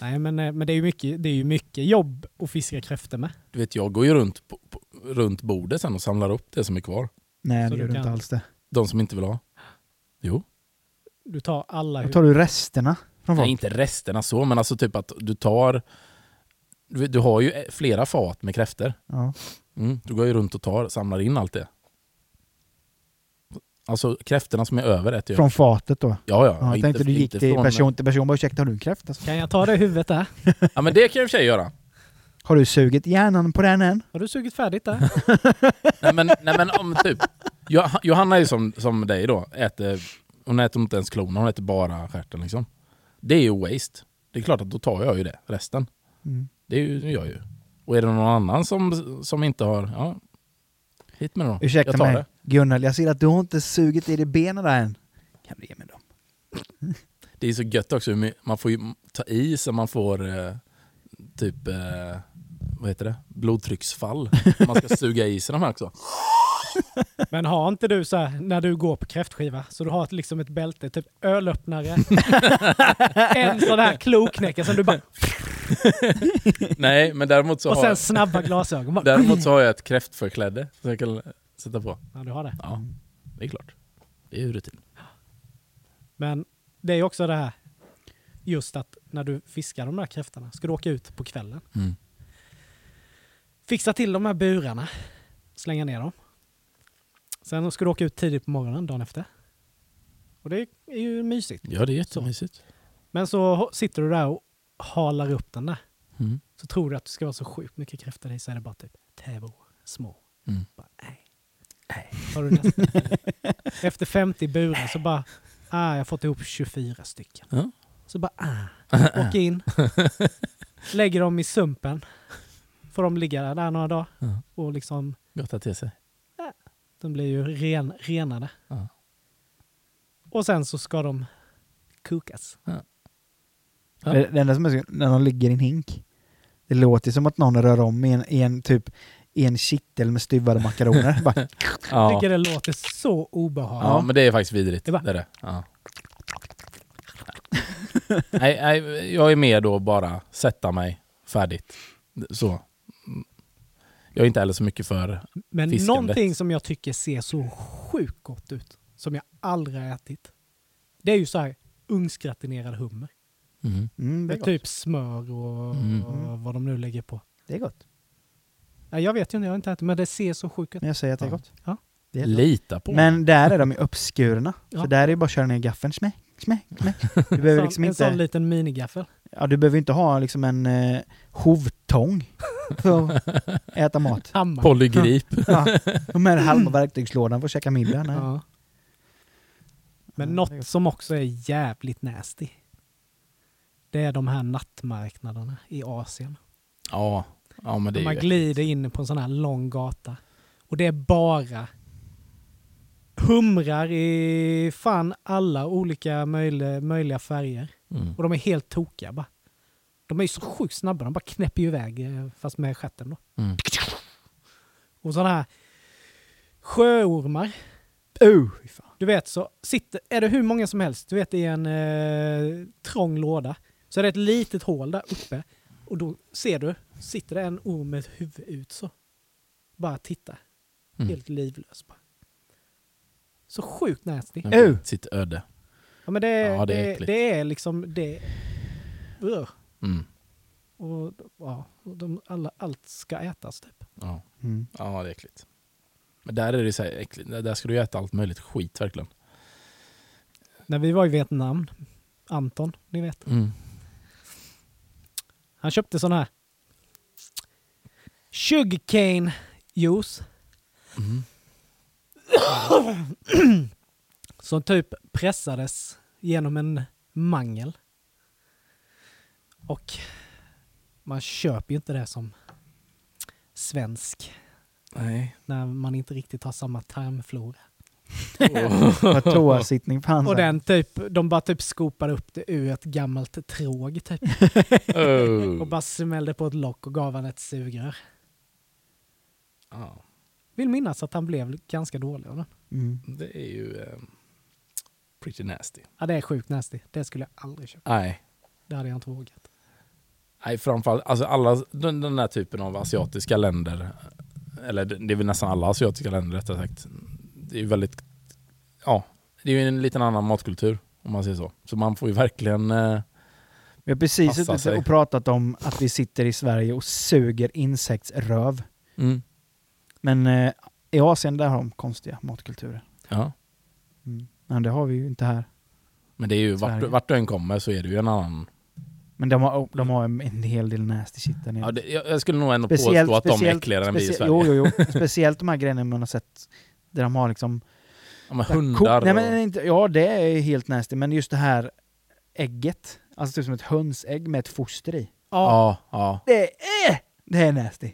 S1: nej, men, eh, men det är ju mycket, det är ju mycket jobb att fiska kräftor med.
S3: Du vet, jag går ju runt, på, på, runt bordet sen och samlar upp det som är kvar.
S2: Nej
S1: Så
S2: det
S1: du
S2: gör du inte
S1: kan-
S2: alls det.
S3: De som inte vill ha. Jo.
S1: Du tar alla
S2: Då
S1: huvud.
S2: tar du resterna från
S3: Nej,
S2: folk.
S3: inte resterna så, men alltså typ att du tar... Du, vet, du har ju eh, flera fat med kräftor.
S2: Ja.
S3: Mm. Du går ju runt och tar, samlar in allt det. Alltså kräftorna som är över äter jag.
S2: Från fatet då.
S3: Ja, ja.
S2: Ja, jag
S3: inte-
S2: tänkte du gick
S3: inte
S2: till
S3: från-
S2: person till person bara ursäkta har du Alltså, en kräfta?
S1: Kan jag ta det huvudet där?
S3: Ja, men det kan jag i och för sig göra.
S2: Har du sugit hjärnan på den än?
S1: Har du sugit färdigt där?
S3: Nej men, nej, men om typ... Jo- Johanna är ju som, som dig då. Äter, hon äter inte ens klorna, hon äter bara stjärten liksom. Det är ju waste. Det är klart att då tar jag ju det, resten.
S2: Mm.
S3: Det är ju, det gör jag ju. Och är det någon annan som, som inte har... Ja, hit med det då. jag
S2: Ursäkta
S3: tar
S2: mig.
S3: det.
S2: Gunnel, jag ser att du har inte sugit i dig benen där än. Kan du ge mig dem?
S3: Det är så gött också, hur my- man får ju ta i så man får eh, typ... Eh, vad heter det? Blodtrycksfall. Man ska suga i sig de här också.
S1: Men har inte du så här, när du går på kräftskiva, så du har ett, liksom ett bälte, typ ölöppnare, en sån här kloknäcka som du bara,
S3: Nej, men däremot så,
S1: och
S3: har,
S1: sen snabba glasögon. Bara,
S3: däremot så har jag ett kräftförkläde som jag kan sätta på.
S1: ja, du har det.
S3: Ja, det är klart. Det är ju rutin.
S1: Men det är ju också det här, just att när du fiskar de där kräftorna, ska du åka ut på kvällen,
S3: Mm.
S1: fixa till de här burarna, slänga ner dem. Sen ska du åka ut tidigt på morgonen dagen efter. Och det är ju mysigt.
S3: Ja, det är jättemysigt.
S1: Men så ho- sitter du där och halar upp den där.
S3: Mm.
S1: så tror du att det ska vara så sjukt mycket kräftor i så är det bara typ tävor, små.
S3: Mm.
S1: Bara, nej. Har du nästan- Efter 50 burar så bara, ah, jag har fått ihop 24 stycken.
S3: Ja.
S1: Så bara, ah, åker in, lägger dem i sumpen. Får de ligga där några dagar
S3: Ja.
S1: och liksom,
S3: Gott att till sig.
S1: de blir ju ren, renade.
S3: Ja.
S1: Och sen så ska de kokas.
S3: Ja.
S2: Det, det enda som är så, när de ligger i en hink. Det låter som att någon rör om i en, i en typ i en kittel med styvade makaroner. Bara,
S1: Jag
S3: Ja.
S1: tycker det låter så obehagligt.
S3: ja, men det är faktiskt vidrigt.
S1: Det
S3: Det
S1: var-
S3: är det. Ja. nej, nej, jag är med då bara sätta mig färdigt. Så. Jag är inte heller så mycket för...
S1: Men
S3: Fisken
S1: någonting som jag tycker ser så sjukt gott ut, som jag aldrig har ätit, det är ju så här ugnsgratinerad hummer.
S3: Mm.
S2: Mm, det, är
S1: Med
S2: gott.
S1: typ smör och
S3: Mm.
S1: vad de nu lägger på.
S2: det är gott.
S1: Nej, jag vet ju inte, jag har inte ätit, men det ser så sjukt ut.
S2: Men jag säger att det är
S3: Ja.
S2: gott.
S1: Ja.
S2: Det är gott.
S3: Lita på mig.
S2: Men där är de ju uppskurna.
S1: Ja.
S2: Så där är det bara att köra ner gaffeln. Smäck, smäck, smäck. Du behöver
S1: Sån-
S2: liksom
S1: en sån
S2: inte,
S1: liten minigaffel.
S2: ja, du behöver inte ha liksom en eh, hovtång för att äta mat.
S1: Hammar.
S3: Polygrip.
S2: Ja. Och med halva verktygslådan för att käka middag. Nej.
S1: Ja. Men
S2: Ja, det är
S1: något
S2: gott.
S1: som också är jävligt nasty. Det är de här nattmarknaderna i Asien.
S3: Ja. ja, men det
S1: Där man
S3: är ju...
S1: glider in på en sån här lång gata. Och det är bara humrar i fan alla olika möjliga, möjliga färger.
S3: Mm.
S1: Och de är helt tokiga bara. De är ju så sjukt snabba, de bara knäpper ju iväg eh, fast med stjärten då.
S3: Mm.
S1: Och sådana här sjöormar.
S2: Uh, fy fan.
S1: Du vet så sitter, är det hur många som helst, du vet i en eh, trång låda. Så är det ett litet hål där uppe. Och då ser du, sitter det en orm med ett huvud ut så. Bara titta.
S3: Mm.
S1: Helt livlös bara. Så sjukt nasty.
S3: Den vet
S2: Ew.
S3: Sitt öde.
S1: Ja men det, är-
S3: Ja, det är
S1: det, är
S3: äckligt.
S1: det är liksom det. Ugh.
S3: Mm.
S1: Och, ja, och de, alla, allt ska ätas typ.
S3: Ja.
S2: Mm.
S3: ja, det är äckligt. Men där är det så här äckligt. Där där ska du ju äta allt möjligt skit verkligen.
S1: När vi var i Vietnam, Anton, ni vet.
S3: Mm.
S1: Han köpte sån här sugarcane juice.
S3: Mm.
S1: som typ pressades genom en mangel. Och man köper ju inte det som svensk
S3: Nej.
S1: när man inte riktigt har samma tarmflora.
S3: Oh.
S2: Och toasittning på hans.
S1: Och den typ, de bara typ skopade upp det ur ett gammalt tråg typ.
S2: Mm.
S1: Och
S3: Oh.
S1: bara smällde på ett lock och gav han ett sugrör.
S3: Ja,
S1: Vill minnas att han blev ganska dålig av den.
S2: Mm.
S3: det är ju ehm, pretty nasty.
S1: Ja, det är sjukt nasty. Det skulle jag aldrig köpa.
S3: Nej.
S1: Det hade jag inte vågat.
S3: Nej, framförallt alltså alla, den, den där typen av asiatiska länder, eller det det är väl nästan alla asiatiska länder rättare sagt, det är ju väldigt, ja, det är ju en liten annan matkultur om man säger så. Så man får ju verkligen, eh,
S2: Vi har precis
S3: Passa
S2: suttit
S3: sig.
S2: och pratat om att vi sitter i Sverige och suger insektsröv.
S3: mm,
S2: Men eh, i Asien där har de konstiga matkulturer.
S3: ja.
S2: Mm. Men det har vi ju inte här.
S3: Men det är ju, vart,
S2: Sverige.
S3: vart du än kommer så är det ju en annan.
S2: Men de har, oh, de har en en hel del nasty shit där nere.
S3: Ja, det, jag jag skulle nog ändå påstå att de är äckligare än vi i
S2: specie-
S3: Sverige.
S2: Jo, jo, jo. Speciellt de här grejerna man har sett där de har liksom...
S3: Ja, men
S2: där
S3: hundar
S2: ko- Nej,
S3: och,
S2: men inte, ja, det är helt nasty. Men just det här ägget. Alltså typ som ett hönsägg med ett foster i.
S3: ja, ja.
S2: Det är, eh, det är nasty.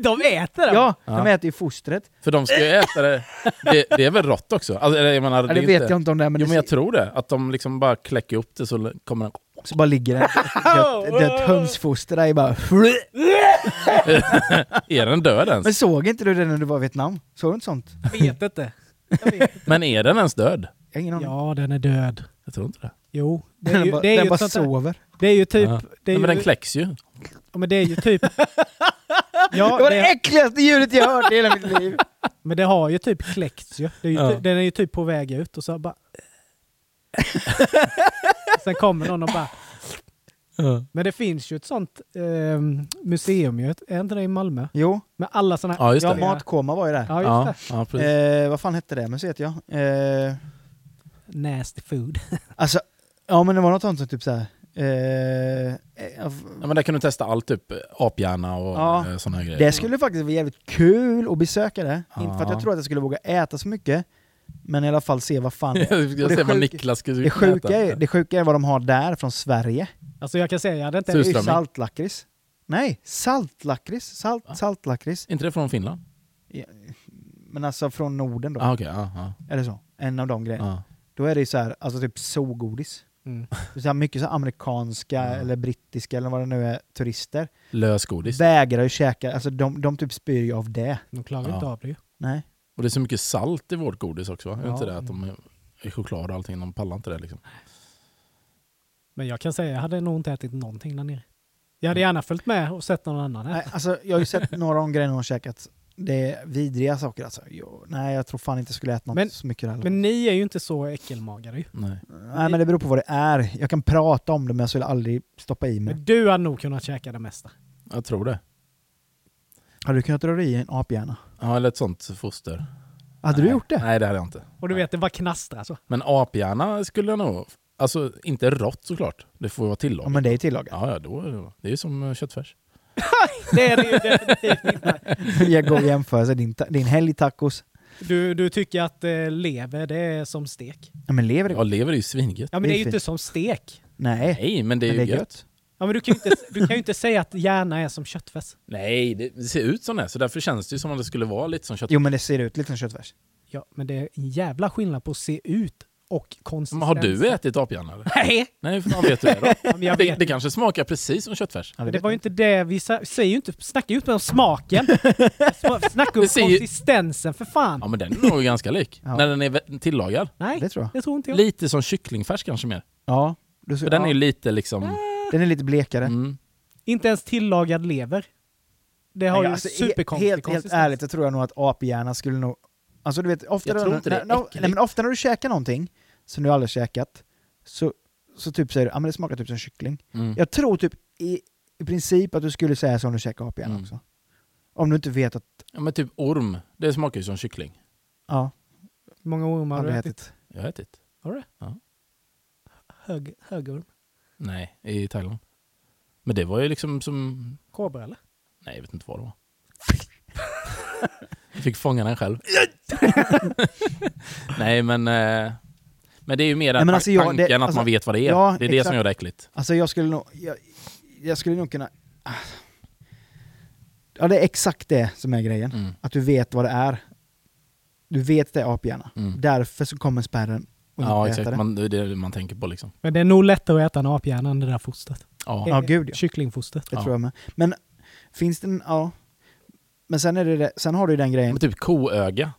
S1: de äter den!
S2: Ja,
S3: Ja.
S2: de äter ju fostret.
S3: För de ska ju äta det, det, det är väl rått också? Alltså, eller jag menar,
S2: Ja,
S3: det
S2: det
S3: är
S2: vet
S3: inte,
S2: jag inte om det är, men,
S3: Jo
S2: det
S3: men jag
S2: ser-
S3: tror det, att de liksom bara kläcker upp det så l- kommer den...
S2: så bara ligger det ett dött- dött hönsfoster där i bara...
S3: Är den död ens?
S2: Men såg inte du det när du var i Vietnam? Såg du inte sånt?
S1: Jag vet inte.
S3: Men är den ens död?
S2: Jag har ingen aning.
S1: Ja, den är död.
S3: Jag tror inte det.
S1: Jo, det är
S2: Den
S1: ju,
S2: bara,
S1: det är
S2: den
S1: ju,
S2: bara
S1: ett sånt där-
S2: sover.
S1: det är ju typ...
S3: Ja.
S1: Det är
S3: Nej, men den
S1: ju-
S3: kläcks ju.
S1: Ja, men det är ju typ...
S2: Det
S1: ja,
S2: var det
S1: det,
S2: äckligaste ljudet jag hört i hela mitt liv.
S1: men det har ju typ kläckts ju. Det är ju
S3: Ja.
S1: ty- Den är ju typ på väg ut och så bara... Sen kommer någon och bara... Men det finns ju ett sånt ehm, museum ju. Är inte det i Malmö?
S2: Jo,
S1: Med alla såna här...
S3: Ja, just
S2: ja,
S3: det.
S2: matkoma var ju där.
S1: Ja, just
S3: Ja, ja,
S2: Ja,
S3: precis.
S2: eh, vad fan hette det museet ja? Eh,
S1: det. Nasty food.
S2: alltså, ja men det var något sånt som typ såhär... Eh, eh,
S3: Ja, men där kan du testa allt, typ aphjärna och
S2: Ja.
S3: ja. sådana
S1: Eh.
S3: grejer.
S2: det skulle faktiskt vara jävligt kul att besöka det.
S3: Ja.
S2: Inte för att jag tror att jag skulle våga äta så mycket, men i alla fall se vad fan det är. det
S3: jag ser vad
S2: sjuka-
S3: Niklas skulle
S2: Det sjuka, är,
S3: äta.
S2: det sjuka är vad de har där från Sverige.
S1: Alltså jag kan säga, jag hade inte...
S2: Det är ju
S3: Surströmming.
S2: saltlakrits. Nej, saltlakrits. Salt, saltlakrits.
S3: Är inte det från Finland?
S2: Ja, Men alltså från Norden då,
S3: Ah, okej, ja, ja,
S2: eller så. En av de grejerna.
S3: ja.
S2: Då är det ju så här, alltså typ zoogodis.
S1: Mm.
S2: Det är Så här mycket så här amerikanska
S3: Ja.
S2: eller brittiska eller vad det nu är, turister.
S3: Lösgodis.
S2: Vägrar ju käka, alltså de, de typ spyr ju av det.
S1: De klarar
S3: Ja.
S1: inte av det ju.
S2: Nej.
S3: Och det är så mycket salt i vårt godis också va? Är
S1: Ja.
S3: inte det att de är i choklad och allting, de pallar inte det liksom.
S1: Men jag kan säga, jag hade nog inte ätit någonting där nere. Jag
S3: Mm.
S1: hade gärna följt med och sett någon annan här.
S2: Nej, alltså, jag har ju sett några av grejerna hon har käkat. Det är vidriga saker alltså. Jo, nej, jag tror fan inte jag skulle äta något
S1: Men-
S2: så mycket heller.
S1: Men ni är ju inte så äckelmagare ju.
S3: Nej.
S2: nej, men det beror på vad det är. Jag kan prata om det men jag skulle aldrig stoppa i mig.
S1: Men du hade nog kunnat käka det mesta.
S3: Jag tror det.
S2: Hade du kunnat röra i en aphjärna?
S3: Ja, eller ett sånt foster.
S2: Hade
S3: Nej.
S2: du gjort det?
S3: Nej, det hade jag inte.
S1: Och du vet, det bara knastrar så.
S3: Men aphjärna skulle jag nog... Alltså, inte rått såklart. Det får ju vara
S2: Ja,
S3: tillagat.
S2: men det är tillagat.
S3: Ja, ja, då är det, det är ju som eh, köttfärs.
S1: Det är det ju definitivt inte.
S2: jag går i jämförelse. Din, ta- din helg tacos.
S1: Du, du tycker att eh, lever, det är som stek.
S2: Ja, men lever det
S3: Ja, lever är ju svingött.
S1: Ja men
S2: Det
S1: det
S2: är
S1: är ju inte
S2: fint.
S1: som stek.
S2: Nej.
S3: Nej, men det är
S2: Men
S3: ju gött.
S1: Ja men du kan ju inte, du kan ju inte säga att hjärna är som köttfärs.
S3: Nej, det, det ser ut som det. Så därför känns det ju som om det skulle vara lite som köttfärs.
S2: Jo men det ser ut lite som köttfärs.
S1: Ja men det är en jävla skillnad på att se ut och
S3: Men
S1: konsistens.
S3: Har du ätit aphjärna eller?
S1: Nej!
S3: Nej, för fan vet du det då?
S1: Ja, men jag
S3: Det,
S1: vet.
S3: det kanske smakar precis som köttfärs.
S2: Ja,
S1: Men
S2: det
S1: det
S2: vet
S1: var ju
S2: jag.
S1: inte det vi sa, säger ju inte, snackar ju inte om smaken. Sma- Snacka om
S3: Det ser ju-
S1: konsistensen för fan.
S3: Ja, men den är nog ganska lik.
S2: Ja.
S3: När den är vä- tillagad.
S1: Nej,
S2: det tror jag.
S1: det tror inte jag.
S3: Lite som kycklingfärs kanske mer.
S2: Ja. Du, ja.
S3: För
S2: Eh.
S3: den är ju lite liksom...
S2: den är lite blekare.
S3: Mm.
S1: Inte ens tillagad lever. Det har
S2: Nej,
S1: ju
S2: alltså, he-
S1: superkonstig
S2: helt, helt
S1: konsistens.
S2: ärligt, jag tror jag nog att aphjärna skulle nog... Alltså du vet, ofta,
S3: Jag
S2: när-
S3: tror inte det är
S2: när, när-
S3: äckligt.
S2: nej, men ofta när du käkar någonting som du aldrig käkat, så, så typ säger du ah, men det smakar typ som kyckling.
S3: Mm.
S2: Jag tror typ i, i princip att du skulle säga så om du käkar aphjärna
S3: Mm.
S2: också. Om du inte vet att...
S3: Ja, men typ orm. Det smakar ju som kyckling.
S2: Ja,
S1: Hur många ormar har du
S2: aldrig
S1: ätit?
S2: ätit.
S3: Jag har ätit.
S1: Har du det?
S3: Ja.
S1: Hög, högorm?
S3: Nej, i Thailand. Men det var ju liksom som...
S1: Kobra eller?
S3: Nej, jag vet inte vad det var. jag fick fånga den själv. Nej, men... eh, Men det är ju mer
S2: Nej, men
S3: ta-
S2: alltså, jag- det-
S3: tanken att
S2: alltså,
S3: man vet vad det är.
S2: ja,
S3: det är det som
S2: exakt.
S3: gör det äckligt.
S2: Alltså jag skulle nog... Jag, jag skulle nog kunna... ah. Ja, det är exakt det som är grejen.
S3: Mm.
S2: Att du vet vad det är. Du vet att det är aphjärna.
S3: Mm.
S2: Därför så kommer spärren och
S3: Ja,
S2: inte äta
S3: exakt.
S2: det.
S3: Man, det är det man tänker på liksom.
S1: Men det är nog lättare att äta en aphjärna än det där fostret.
S3: Ja.
S2: Ja, gud, ja.
S1: Kycklingfostret.
S2: Det
S3: Ja.
S2: tror jag med. Men finns det en, ja. Men sen, är det det, sen har du ju den grejen.
S3: Men typ koöga.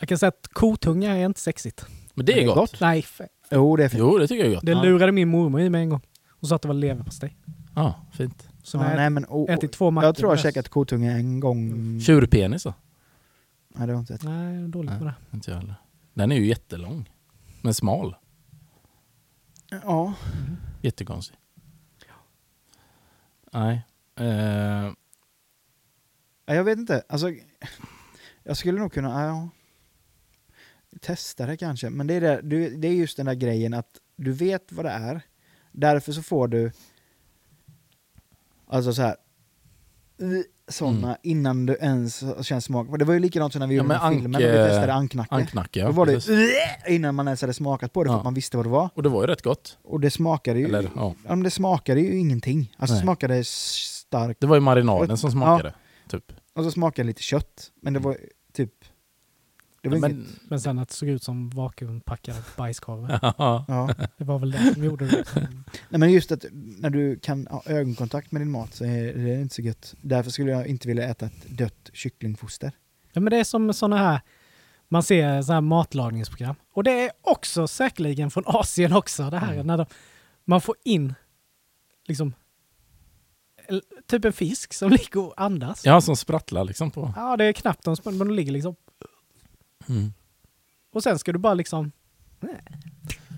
S1: Jag kan säga att kotunga är inte sexigt.
S3: Men det är,
S2: Men
S3: gott.
S1: Nej, f-
S2: Jo, det är fint.
S3: typ- Jo, det tycker jag är gott.
S1: det
S2: Ja.
S1: lurade min mormor i mig en gång. Hon sa att det var leverpastej.
S3: Ja, fint.
S1: Så
S2: Ja,
S1: när
S2: nej, men, oh,
S1: jag ätit två mackor
S2: jag tror jag har
S1: med
S2: käkat kotunga en gång.
S3: Tjurpenis då?
S2: Nej, det var inte ett.
S1: Nej, det är dåligt med det.
S3: Inte jag heller. Den är ju jättelång. Men smal.
S2: Ja.
S3: Jättekonstig. Nej. Eh,
S2: ja, jag vet inte. Alltså, jag skulle nog kunna, ja. Testa det kanske. Men det är, det, du- det är just den där grejen att du vet vad det är. Därför så får du, alltså så här sådana innan du ens känner smak. Det var ju likadant som när vi
S3: Mm. Ja,
S2: gjorde
S3: men
S2: den här filmen,
S3: anke-
S2: när vi testade anknacke.
S3: anknacke,
S2: Då
S3: ja.
S2: var det
S3: precis.
S2: innan man ens hade smakat på det för
S3: Ja.
S2: att man visste vad det var.
S3: Och det var ju rätt gott.
S2: Och det smakade ju,
S3: Eller, ja.
S2: ja, men det smakade ju ingenting. Alltså
S3: Nej.
S2: det smakade starkt.
S3: Det var ju marinaden som smakade. Typ.
S2: Och så smakade det lite kött. Men det var typ... Det var inget...
S3: Mm. Men,
S1: Men sen att det såg ut som vakuumpackade bajskorvar.
S3: ja.
S2: Ja.
S1: Det var väl det som gjorde det.
S2: Nej, men just att när du kan ha ögonkontakt med din mat så är det inte så gött. Därför skulle jag inte vilja äta ett dött kycklingfoster.
S1: Ja, men det är som sådana här, man ser så här matlagningsprogram. Och det är också säkerligen från Asien också det här.
S2: Mm.
S1: När de, man får in liksom el- typ en fisk som ligger och andas.
S3: ja, som sprattlar liksom på.
S1: Ja, det är knappt de spänner, men de ligger liksom.
S3: Mm.
S1: Och sen ska du bara liksom,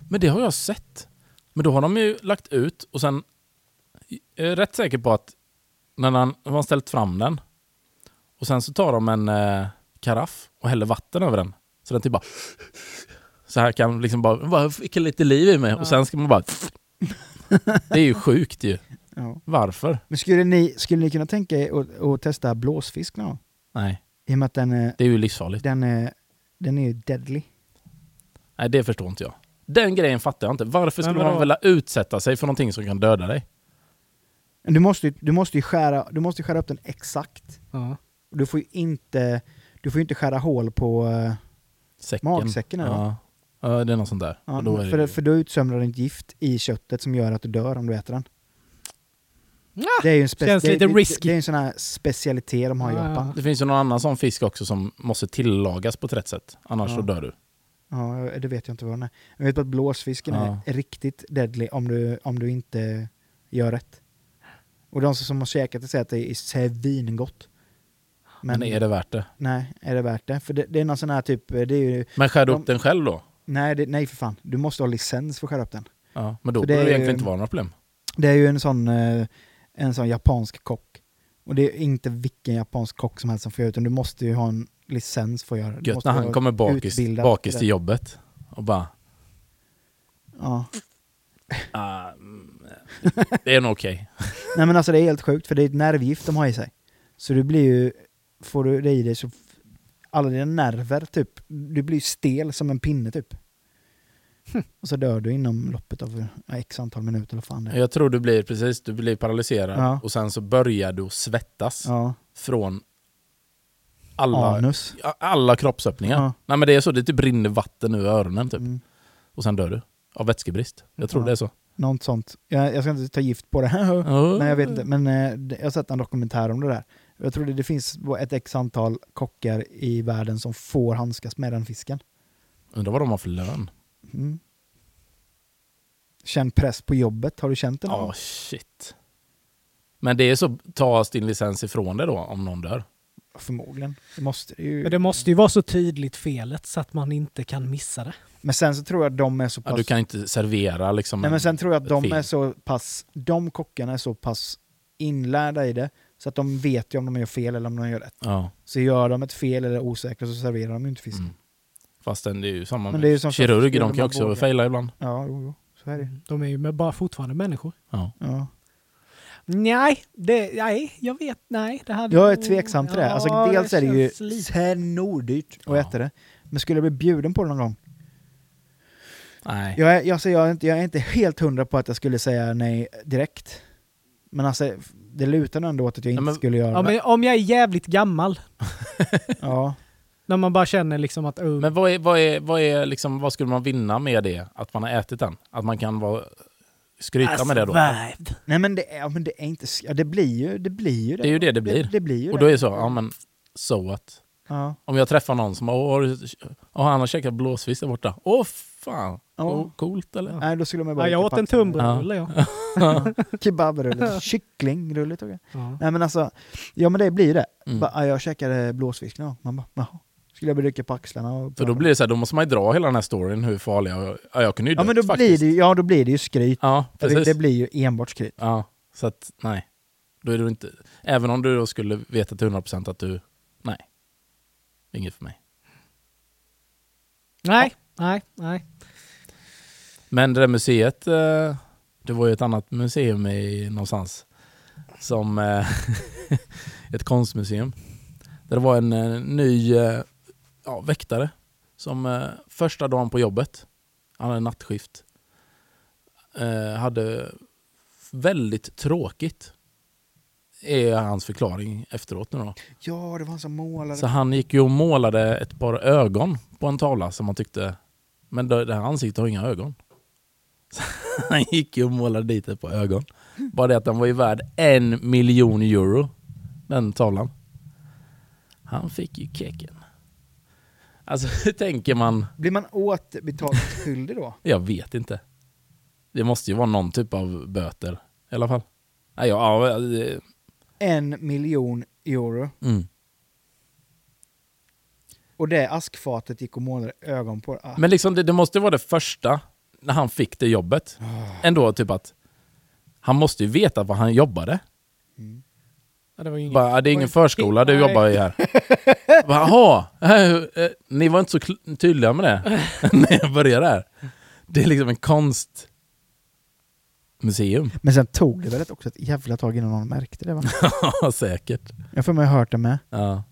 S3: Men det har jag sett. Men då har de ju lagt ut och sen... Jag är rätt säker på att när han har man ställt fram den och sen så tar de en eh, karaff och häller vatten över den. Så den typ bara... Så här kan liksom bara... bara fick lite liv i mig och sen ska man bara... Det är ju sjukt ju.
S2: Ja.
S3: Varför?
S2: Men skulle ni, skulle ni kunna tänka er att- att testa blåsfisk någon gång?
S3: Nej,
S2: I och med att den är,
S3: det är ju livsfarligt.
S2: den är, den är ju deadly.
S3: Nej, det förstår inte jag. Den grejen fattar jag inte. Varför
S1: Men
S3: skulle
S1: vadå?
S3: man vilja utsätta sig för någonting som kan döda dig?
S2: Du måste, ju- du måste ju skära, du måste ju skära upp den exakt.
S1: ja.
S2: Och Du får ju inte, du får ju inte skära hål på... eh,
S3: Säcken.
S2: Magsäcken, eller?
S3: ja. ja, det är något sånt där.
S2: Ja,
S3: Och då är
S2: för,
S3: det, ju-
S2: för då utsöndrar den ett gift i köttet som gör att du dör om du äter den.
S1: Ja,
S2: Det är ju en, spe-
S1: Ah, känns
S2: det, är-
S1: lite
S2: det,
S1: risky.
S2: Det, det är en sån här specialitet de har i
S1: Ja, ja.
S2: Japan.
S3: det finns ju någon annan sån fisk också som måste tillagas på ett rätt sätt. Annars
S2: Ja.
S3: så dör du.
S2: Ja, det vet jag inte vad den är. Jag vet bara att blåsfisken
S3: Ja.
S2: är riktigt deadly om du, om du inte gör rätt. Och de som har käkat det säger att det är svingott.
S3: Men, är det värt det?
S2: Nej, är det värt det? För det, det är någon sån här typ, det är ju...
S3: Men skär du
S2: De-
S3: upp den själv då?
S2: Nej, det, nej för fan. Du måste ha licens för att skära upp den.
S3: Ja, men då
S2: För
S3: borde
S2: det
S3: det
S2: är ju-
S3: egentligen inte vara några problem.
S2: Det är ju en sån, eh, en sån japansk kock. Och det är inte vilken japansk kock som helst som får göra utan du måste ju ha en licens för att göra det. Du
S3: Gött
S2: måste
S3: när
S2: vara
S3: han kommer bakis,
S2: utbildad
S3: bakis
S2: för
S3: till
S2: det.
S3: jobbet och bara
S2: Ja.
S3: "Ah, mm, Det är nog okej.
S2: Nej men alltså det är helt sjukt för det är ett nervgift de har i sig. Så du blir ju, får du det i dig så, f- alla dina nerver typ, du blir ju stel som en pinne typ.
S3: Hm.
S2: Och så dör du inom loppet av ja, x antal minuter eller fan det är.
S3: Jag tror du blir precis, du blir paralyserad
S2: Ja.
S3: och sen så börjar du att svettas
S2: Ja,
S3: från alla,
S2: anus.
S3: ja, alla kroppsöppningar.
S2: Ja.
S3: Nej men det är så, det typ rinner vatten ur öronen typ.
S2: Mm.
S3: Och sen dör du. Av vätskebrist. Jag tror
S2: Ja.
S3: det är så.
S2: Något sånt. Jag, jag ska inte ta gift på det här.
S3: Ja.
S2: Nej jag vet inte, men eh, det- jag har sett en dokumentär om det där. Jag tror det, det finns ett x antal kockar i världen som får handskas med den fisken.
S3: Undrar vad de har för lön.
S2: Mm. Känn press på jobbet, har du känt det någon
S3: Ja,
S2: gång?
S3: shit. Men det är så, tas din licens ifrån dig då om någon dör?
S2: Förmodligen. Det måste det ju.
S1: Men det måste ju vara så tydligt felet så att man inte kan missa det.
S2: Men sen så tror jag att de är så pass...
S3: Ja, du kan inte servera liksom.
S2: Nej,
S3: en-
S2: men sen tror jag att de
S3: fel.
S2: är så pass... De kockarna är så pass inlärda i det så att de vet ju om de gör fel eller om de gör rätt.
S3: ja,
S2: Så gör de ett fel eller är osäkra så serverar de ju inte fisken.
S3: mm. Fastän det är ju samma
S2: Men
S3: med
S2: det är ju som
S3: kirurger,
S2: först,
S3: de kan ju
S2: man
S3: också
S2: vågar.
S3: fejla ibland.
S2: Ja, jo, jo. Så är det ju.
S1: De är ju med bara fortfarande människor.
S3: Ja.
S2: ja.
S1: Nej, det, nej jag vet. Nej, det hade
S2: Jag är
S1: nog-
S2: tveksam till det.
S1: Ja,
S2: Alltså, dels är det
S1: känns
S2: ju
S1: lite-
S2: snordyrt att
S3: Ja.
S2: äta det. Men skulle jag bli bjuden på det någon gång?
S3: Nej.
S2: Jag är, jag, säger, jag, är inte, jag är inte helt hundra på att jag skulle säga nej direkt. Men alltså, det lutar nog ändå åt att jag
S3: Ja,
S2: inte
S3: men-
S2: skulle göra
S1: Ja,
S2: det.
S1: men om jag är jävligt gammal,
S2: Ja.
S1: när man bara känner liksom att oh,
S3: Men vad, är, vad, är, vad, är, liksom, vad skulle man vinna med det? Att man har ätit den? Att man kan vara, skryta med
S2: Alltså,
S3: det då?
S1: survived.
S2: Nej men det, är- ja, men det är inte... s- Ja, det blir ju det. Blir ju det.
S3: Det är ju det det blir.
S2: Det, det blir ju
S3: Och
S2: det.
S3: då är det så, ja men so what?
S2: Ja.
S3: Om jag träffar någon som åh, har du, åh, han har käkat blåsfisk där borta. Åh fan,
S2: Ja.
S3: oh. coolt eller?
S2: Nej, då skulle man bara
S1: Ja, jag
S2: åka
S1: åt
S2: på
S1: en
S2: axeln.
S1: tunnbrödsrulle jag.
S2: Kebabrulle. Kycklingrulle tog jag.
S1: Ja.
S2: Nej men alltså, ja men det blir ju det.
S3: Mm.
S2: Bara, ja, jag käkade blåsfisk någon gång. Man bara, jaha. Skulle jag börja rycka på axlarna och...
S3: För då blir det så här, då måste man ju dra hela den här storyn hur farliga, jag- ja jag kunde ju
S2: ja
S3: dött
S2: men då
S3: faktiskt.
S2: blir det, ju- ja, då blir det ju skryt. Alltså,
S3: Ja,
S2: det,
S3: precis.
S2: det blir ju enbart skryt.
S3: Ja, så att nej. Då är du inte... Även om du då skulle veta till 100% att du... Nej. Inget för mig.
S1: Nej, nej, nej.
S3: Men det där museet, eh, det var ju ett annat museum i någonstans. Som eh, ett konstmuseum. Där det var en eh, ny eh, ja, väktare som eh, första dagen på jobbet, han hade nattskift, eh, hade väldigt tråkigt. Är hans förklaring efteråt nu då.
S2: Ja, det var han som målade.
S3: Så han gick ju och målade ett par ögon på en tavla som han tyckte, men det det här ansiktet har inga ögon. Så han gick ju och målade dit ett par ögon. Bara det att den var ju värd en miljon euro, den tavlan. Han fick ju keken. Alltså hur tänker man?
S2: Blir man återbetalningsskyldig då?
S3: Jag vet inte. Det måste ju vara någon typ av böter i alla fall. Nej, ja, ja, det-
S2: En miljon euro.
S3: mm.
S2: Och det askfatet gick och målade ögon på. Ah.
S3: Men liksom, det, det måste vara det första när han fick det jobbet.
S1: Ah.
S3: Ändå typ att han måste ju veta vad han jobbade.
S1: Ja, det var ju inget.
S3: Bara, "Ah, det är ingen
S1: Oj.
S3: förskola du
S1: Nej.
S3: jobbar i här. Bara, Jaha, eh, eh, ni var inte så kl- tydliga med det när jag började här. Det är liksom en konstmuseum.
S2: Men sen tog det väl ett- också ett jävla tag innan någon märkte det va?
S3: Ja, säkert.
S2: Jag får mig hört det med.
S3: Ja.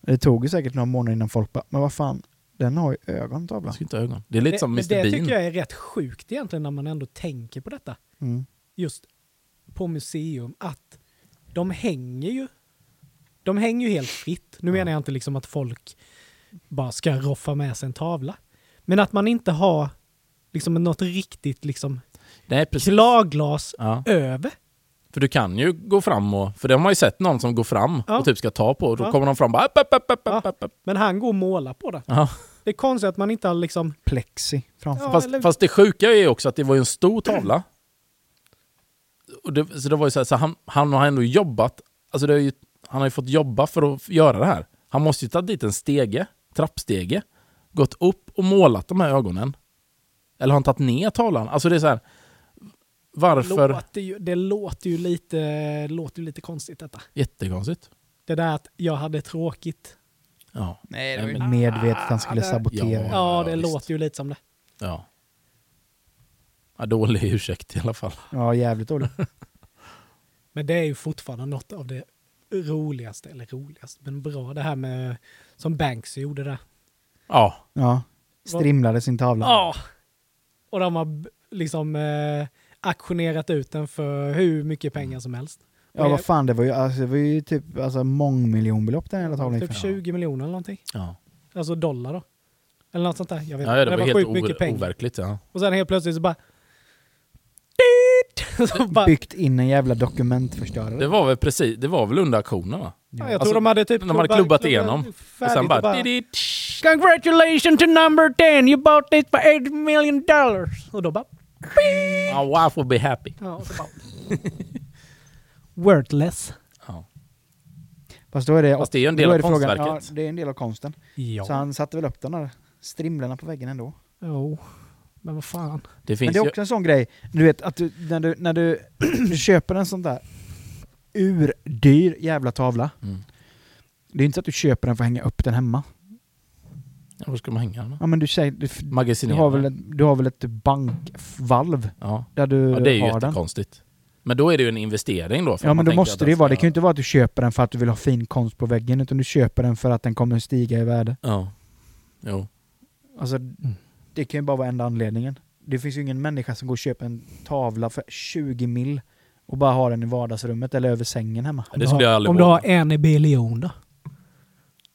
S2: Det tog ju säkert några månader innan folk bara, men vad fan, den har ju ögon
S3: Jag
S2: tavlan.
S3: ska inte ha ögon. Det är lite som
S1: men
S3: Mr
S1: det
S3: Bean.
S1: tycker jag är rätt sjukt egentligen när man ändå tänker på detta.
S2: Mm.
S1: Just på museum att de hänger ju. De hänger ju helt fritt. Nu menar jag inte liksom att folk bara ska roffa med sig en tavla. Men att man inte har liksom något riktigt liksom
S3: Nej, precis.
S1: klarglas
S3: Ja.
S1: över.
S3: För du kan ju gå fram och... För det har man ju sett någon som går fram
S1: Ja.
S3: och typ ska ta på och då
S1: Ja.
S3: kommer de fram och bara... App, app, app, app,
S1: Ja.
S3: app, app.
S1: Men han går och målar på det.
S3: Ja.
S1: Det är konstigt att man inte har liksom...
S2: Plexi framför.
S1: Ja,
S3: Fast,
S1: eller-
S3: fast det sjuka är ju också att det var ju en stor tavla. Och det, så det var ju så, här, så han, han har ändå jobbat, alltså det är ju, han har ju fått jobba för att göra det här. Han måste ju ta dit en stege, trappstege, gått upp och målat de här ögonen. Eller har han tagit ner tavlan? Alltså det är så här, varför?
S1: Låter ju, det låter ju lite, låter ju lite konstigt detta.
S3: Jättekonstigt.
S1: Det där att jag hade tråkigt.
S3: Ja.
S2: Nej,
S3: det var ju-
S2: Medvetet han skulle
S1: Ah, det-
S2: sabotera.
S3: Ja.
S1: Ja, det
S3: visst.
S1: låter ju lite som det.
S3: ja. ja dålig ursäkt i alla fall.
S2: Ja, jävligt dåligt.
S1: Men det är ju fortfarande något av det roligaste, eller roligaste, men bra det här med som Banks gjorde där.
S3: Ja,
S2: Ja. Strimlade sin tavla.
S1: Ja! Och de har b- liksom eh, auktionerat ut den för hur mycket
S3: Mm.
S1: pengar som helst. Och
S2: Ja, vad fan, det var ju, alltså, det var ju typ alltså, mångmiljonbelopp den jävla tavlan gick
S1: Typ
S2: för.
S1: 20 miljoner eller någonting.
S3: ja.
S1: Alltså dollar då. Eller något sånt där. Jag vet
S3: ja
S1: inte.
S3: det, var, helt
S1: sjukt
S3: over-
S1: mycket pengar.
S3: overkligt. Ja.
S1: Och sen helt plötsligt så bara... Så bara
S2: Byggt in en jävla dokumentförstörare.
S3: Det var väl precis, det var väl under auktionen va?
S1: ja, jag
S3: Alltså,
S1: tror de hade typ...
S3: de hade klubbat igenom. Och
S1: färdigt
S3: sen bara...
S1: och
S3: didit.
S1: Congratulations to number 10! You bought this for 8 million dollars! Och då bara...
S3: My wife will be happy.
S1: Ja, och så bara Wordless.
S3: Ja.
S2: Fast då är det,
S3: Fast det är ju en del
S2: då
S3: av
S2: är det frågan-
S3: konstverket.
S2: Ja, det är en del av konsten.
S1: Ja.
S2: Så han satte väl upp de där strimlorna på väggen ändå.
S1: Jo. Men vad fan.
S3: Det
S2: Men
S3: finns
S2: det är
S3: ju...
S2: också en sån grej, du vet att du, när, du, när du, du köper en sån där urdyr jävla tavla.
S3: Mm.
S2: Det är inte så att du köper den för att hänga upp den hemma.
S3: Ja, Var ska man hänga den? då?
S2: Ja men du säger, du, du,
S3: Magasinera.
S2: har, väl ett, du har väl ett bankvalv
S3: Ja.
S2: där du
S3: ja, det är ju
S2: har den.
S3: jättekonstigt. Men då är det ju en investering då. för
S2: Ja men
S3: att man
S2: då
S3: tänker
S2: måste
S3: att
S2: det ju
S3: den
S2: vara,
S3: ska-
S2: det kan ju inte vara att du köper den för att du vill ha fin konst på väggen utan du köper den för att den kommer stiga i värde.
S3: Ja. Jo.
S2: Alltså,
S3: Mm.
S2: det kan ju bara vara enda anledningen. Det finns ju ingen människa som går och köper en tavla för 20 mil och bara har den i vardagsrummet eller över sängen hemma.
S3: Det skulle jag aldrig
S1: Om du
S3: våga.
S1: har en biljon då?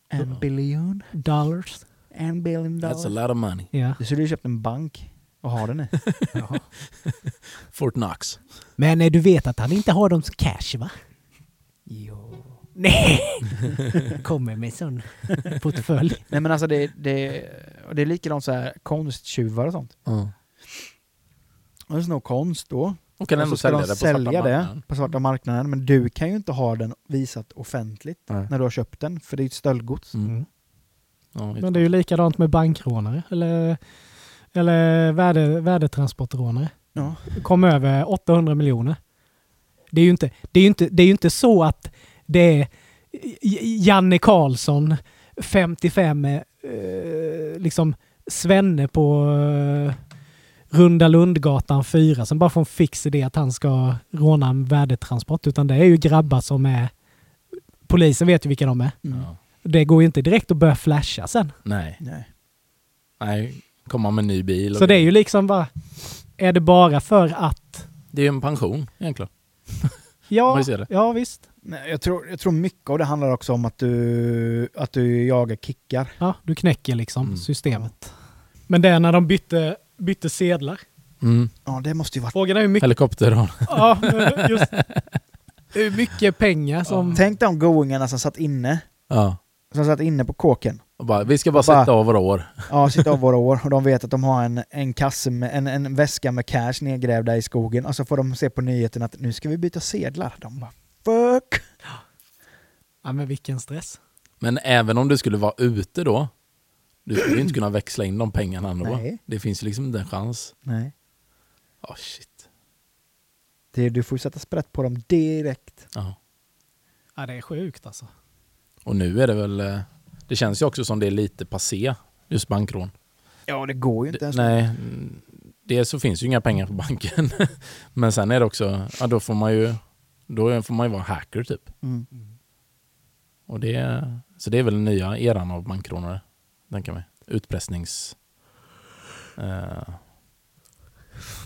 S2: En biljon,
S1: Dollars?
S2: en biljon
S3: That's a
S2: dollar.
S3: lot of money.
S1: Ja.
S2: Du skulle ju köpt en bank och ha den i.
S3: Fort Knox.
S1: Men eh, du vet att han inte har dem som cash va?
S2: jo.
S1: Nej! Kommer med sån portfölj.
S2: Nej men alltså det, det, och det är likadant så här konstjuvar och sånt.
S3: Ja.
S2: De snor konst då.
S3: Och kan
S2: och så
S3: ändå
S2: ska de
S3: sälja
S2: sälja
S3: det på svarta
S2: det
S3: marknaden.
S2: på svarta marknaden. Men du kan ju inte ha den visat offentligt
S3: Nej.
S2: när du har köpt den. För det är ju ett stöldgods.
S3: Mm. Ja,
S1: Men det är ju likadant med bankrånare. Eller, eller värde, värdetransportrånare.
S2: Ja.
S1: kom över 800 miljoner. Det är ju inte, det är ju inte, det är ju inte så att det är J- Janne Karlsson, 55, eh, liksom svenne på eh, Runda Lundgatan 4 som bara får en fix idé att han ska råna en värdetransport. Utan det är ju grabbar som är... Polisen vet ju vilka de är.
S2: Mm.
S3: Ja.
S1: Det går ju inte direkt att börja flasha sen.
S3: Nej.
S2: Nej.
S3: Nej. Komma med en ny bil. och-
S1: Så det är ju liksom bara... Är det bara för att...
S3: det är ju en pension egentligen. Om
S1: Ja,
S3: man ser det.
S1: ja visst.
S2: Nej, jag, tror, jag tror mycket av det handlar också om att du, att du jagar kickar.
S1: Ja, du knäcker liksom
S3: Mm.
S1: systemet. Men det är när de bytte, bytte sedlar.
S3: Mm.
S2: Ja, det måste ju vara...
S1: Frågan är hur mycket,
S3: Helikopter.
S1: ja, men just, hur mycket pengar som...
S2: Mm. Tänk de goingarna som satt inne,
S3: Ja.
S2: som satt inne på kåken.
S3: Och bara, vi ska bara
S2: Bara-
S3: sätta av våra år.
S2: Ja, sitta av våra år och de vet att de har en, en, kasse med, en, en väska med cash nedgrävda i skogen och så får de se på nyheten att nu ska vi byta sedlar. De bara fuck!
S1: Ja, men vilken stress.
S3: Men även om du skulle vara ute då, du skulle ju inte kunna växla in de pengarna ändå.
S2: Nej.
S3: Det finns ju liksom inte en chans.
S2: Nej,
S3: Oh, shit.
S2: det, du får ju sätta sprätt på dem direkt.
S3: Ja.
S1: Ja, det är sjukt alltså.
S3: Och nu är det väl, eh, det känns ju också som det är lite passé, just bankrån.
S2: Ja, det går ju inte ens.
S3: Nej, mm, dels så finns ju inga pengar på banken. Men sen är det också, ja då får man ju, då får man ju vara hacker typ.
S2: Mm.
S3: Och det, så det är väl den nya eran av bankkronor, tänker jag mig. Utpressnings... Eh,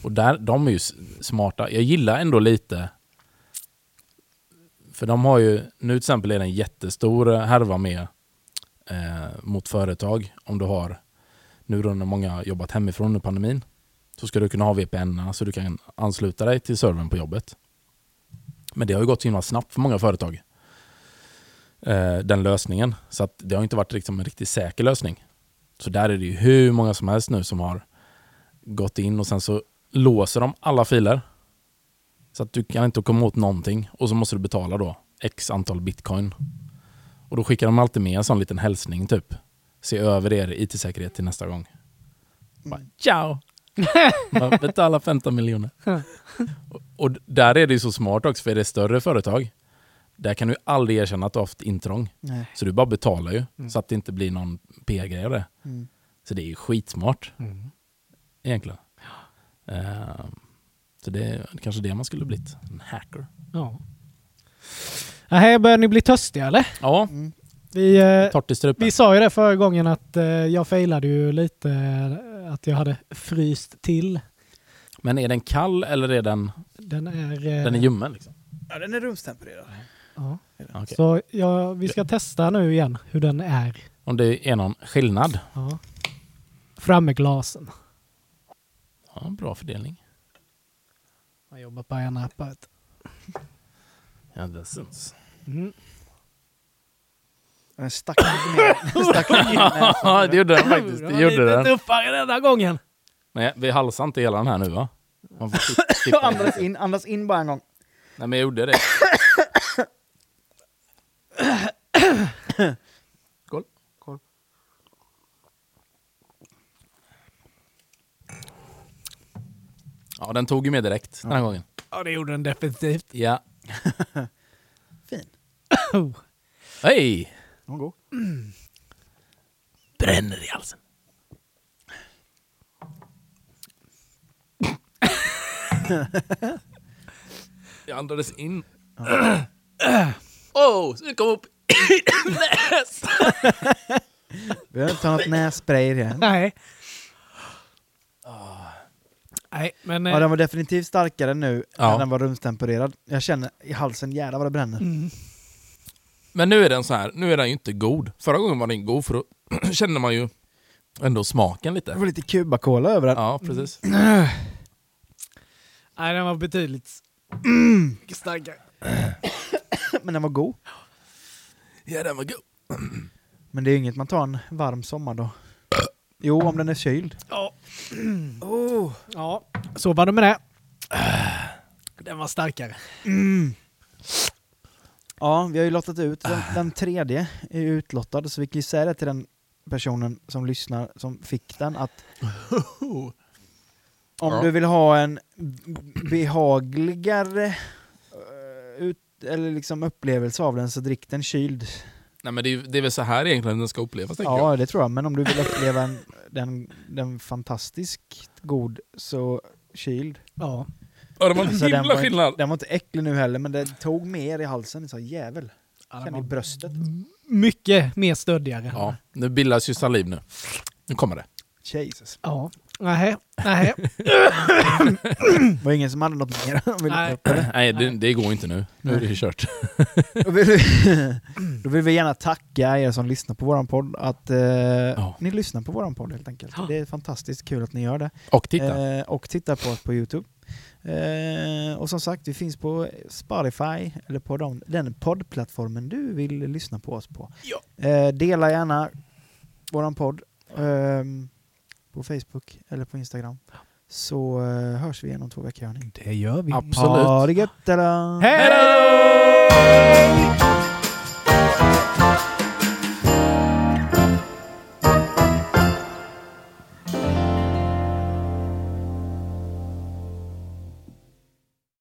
S3: och där, de är ju s- smarta. Jag gillar ändå lite... För de har ju, nu till exempel är det en jättestor härva med eh, mot företag. Om du har, nu då när många har jobbat hemifrån under pandemin, så ska du kunna ha VPN så du kan ansluta dig till servern på jobbet. Men det har ju gått så himla snabbt för många företag eh, den lösningen. Så att det har inte varit liksom en riktigt säker lösning. Så där är det ju hur många som helst nu som har gått in och sen så låser de alla filer. Så att du kan inte komma åt någonting och så måste du betala då x antal bitcoin. Och då skickar de alltid med en sån liten hälsning typ. Se över er it-säkerhet till nästa gång. Bara, Ciao! Man betalar 15 miljoner. Och- Och där är det ju så smart också, för är det större företag, där kan du ju aldrig erkänna att du har haft intrång.
S2: Nej.
S3: Så du bara betalar ju,
S1: Mm.
S3: så att det inte blir någon PR-grej av det.
S2: Mm.
S3: Så det är ju skitsmart
S1: Mm.
S3: egentligen. Eh, så det är kanske det man skulle blivit, en hacker.
S1: Ja. Här börjar ni bli törstiga eller?
S3: Ja,
S2: Mm.
S1: Vi, eh,
S3: torrt i strupen.
S1: vi sa ju det förra gången att eh, jag failade ju lite, eh, att jag hade fryst till.
S3: Men är den kall eller är den,
S1: Den är... eh,
S3: den är ljummen? Liksom?
S2: Ja, den är rumstempererad.
S1: ja.
S3: Okej.
S1: Så ja, vi ska testa nu igen hur den är.
S3: Om det är någon skillnad?
S1: Ja. Fram med glasen.
S3: Ja, bra fördelning.
S1: Jag jobbar på en app. vet du.
S3: Ja, det syns.
S1: Mm.
S2: Den stack lite mer. den stack lite mer än så.
S3: Ja, det gjorde den faktiskt. Det gjorde
S1: lite
S3: den.
S1: tuffare denna gången.
S3: Nej, vi halsar inte hela den här nu va? Man får tipp-
S2: Så
S3: tippa
S2: Andas
S3: lite.
S2: in, andas in bara en gång.
S3: Nej, men jag gjorde det. Skål.
S2: Skål.
S3: Ja, den tog ju med direkt den här gången.
S1: Ja, det gjorde den definitivt.
S3: Ja.
S2: Fin.
S3: Hej!
S2: Den var god.
S3: Bränner i halsen. Jag andades in. Åh, oh, så det kom upp i näsan!
S2: Vi behöver inte ta något nässpray igen.
S1: Nej. Nej, men... eh,
S2: Ja, den var definitivt starkare nu
S3: Ja.
S2: när den var rumstempererad. Jag känner i halsen, jävlar vad det bränner.
S3: Men nu är den så här, nu är den ju inte god. Förra gången var den god för då kände man ju ändå smaken
S2: Det
S3: lite.
S2: var lite kubakola över den.
S3: Ja, precis.
S1: Nej, den var betydligt mycket starkare.
S2: Men den var god.
S3: Ja, den var god.
S2: Men det är ju inget man tar en varm sommar då. Jo, om den är kyld.
S1: Ja.
S2: Oh.
S1: ja, så var det med det. Den var starkare.
S2: Ja, vi har ju lottat ut. Den, den tredje är ju utlottad, så vi kan ju säga det till den personen som lyssnar, som fick den, att om
S3: Ja.
S2: du vill ha en behagligare eh, ut, eller liksom upplevelse av den så drick den kyld.
S3: Nej men det är, ju- det är väl så här egentligen den ska upplevas tänker jag.
S2: Ja, det tror jag. Men om du vill uppleva en, den, den fantastiskt god, så kyld.
S1: Ja.
S3: Ja, det var en
S2: Alltså, den,
S3: himla
S2: var inte,
S3: skillnad.
S2: den var inte äcklig nu heller, men den tog mer i halsen. Så jävel.
S1: ja den
S2: Kände i
S1: var
S2: bröstet.
S1: mycket mer stöddigare.
S3: Ja, nu bildas ju saliv nu. Nu kommer det.
S2: Jesus.
S1: Ja. Nej, nej.
S2: Det var ingen som hade något mer. de ville ta
S1: Nej.
S2: upp, eller?
S3: Nej, det, det går ju inte nu. Nu är det ju kört.
S2: Då vill, vi, då vill vi gärna tacka er som lyssnar på våran podd, att eh, ni lyssnar på våran podd helt enkelt.
S1: Ja.
S2: Det är fantastiskt kul att ni gör det.
S3: Och titta.
S2: Eh, och tittar på oss på Youtube. Eh, och som sagt, vi finns på Spotify, eller på de, den poddplattformen du vill lyssna på oss på. Eh, dela gärna våran podd ehm, på Facebook eller på Instagram. Så eh, hörs vi igen om två veckor hörni.
S1: Eh, Det gör vi.
S3: Absolut.
S2: Ha det gött eller?
S1: Hej då!
S3: Hej då!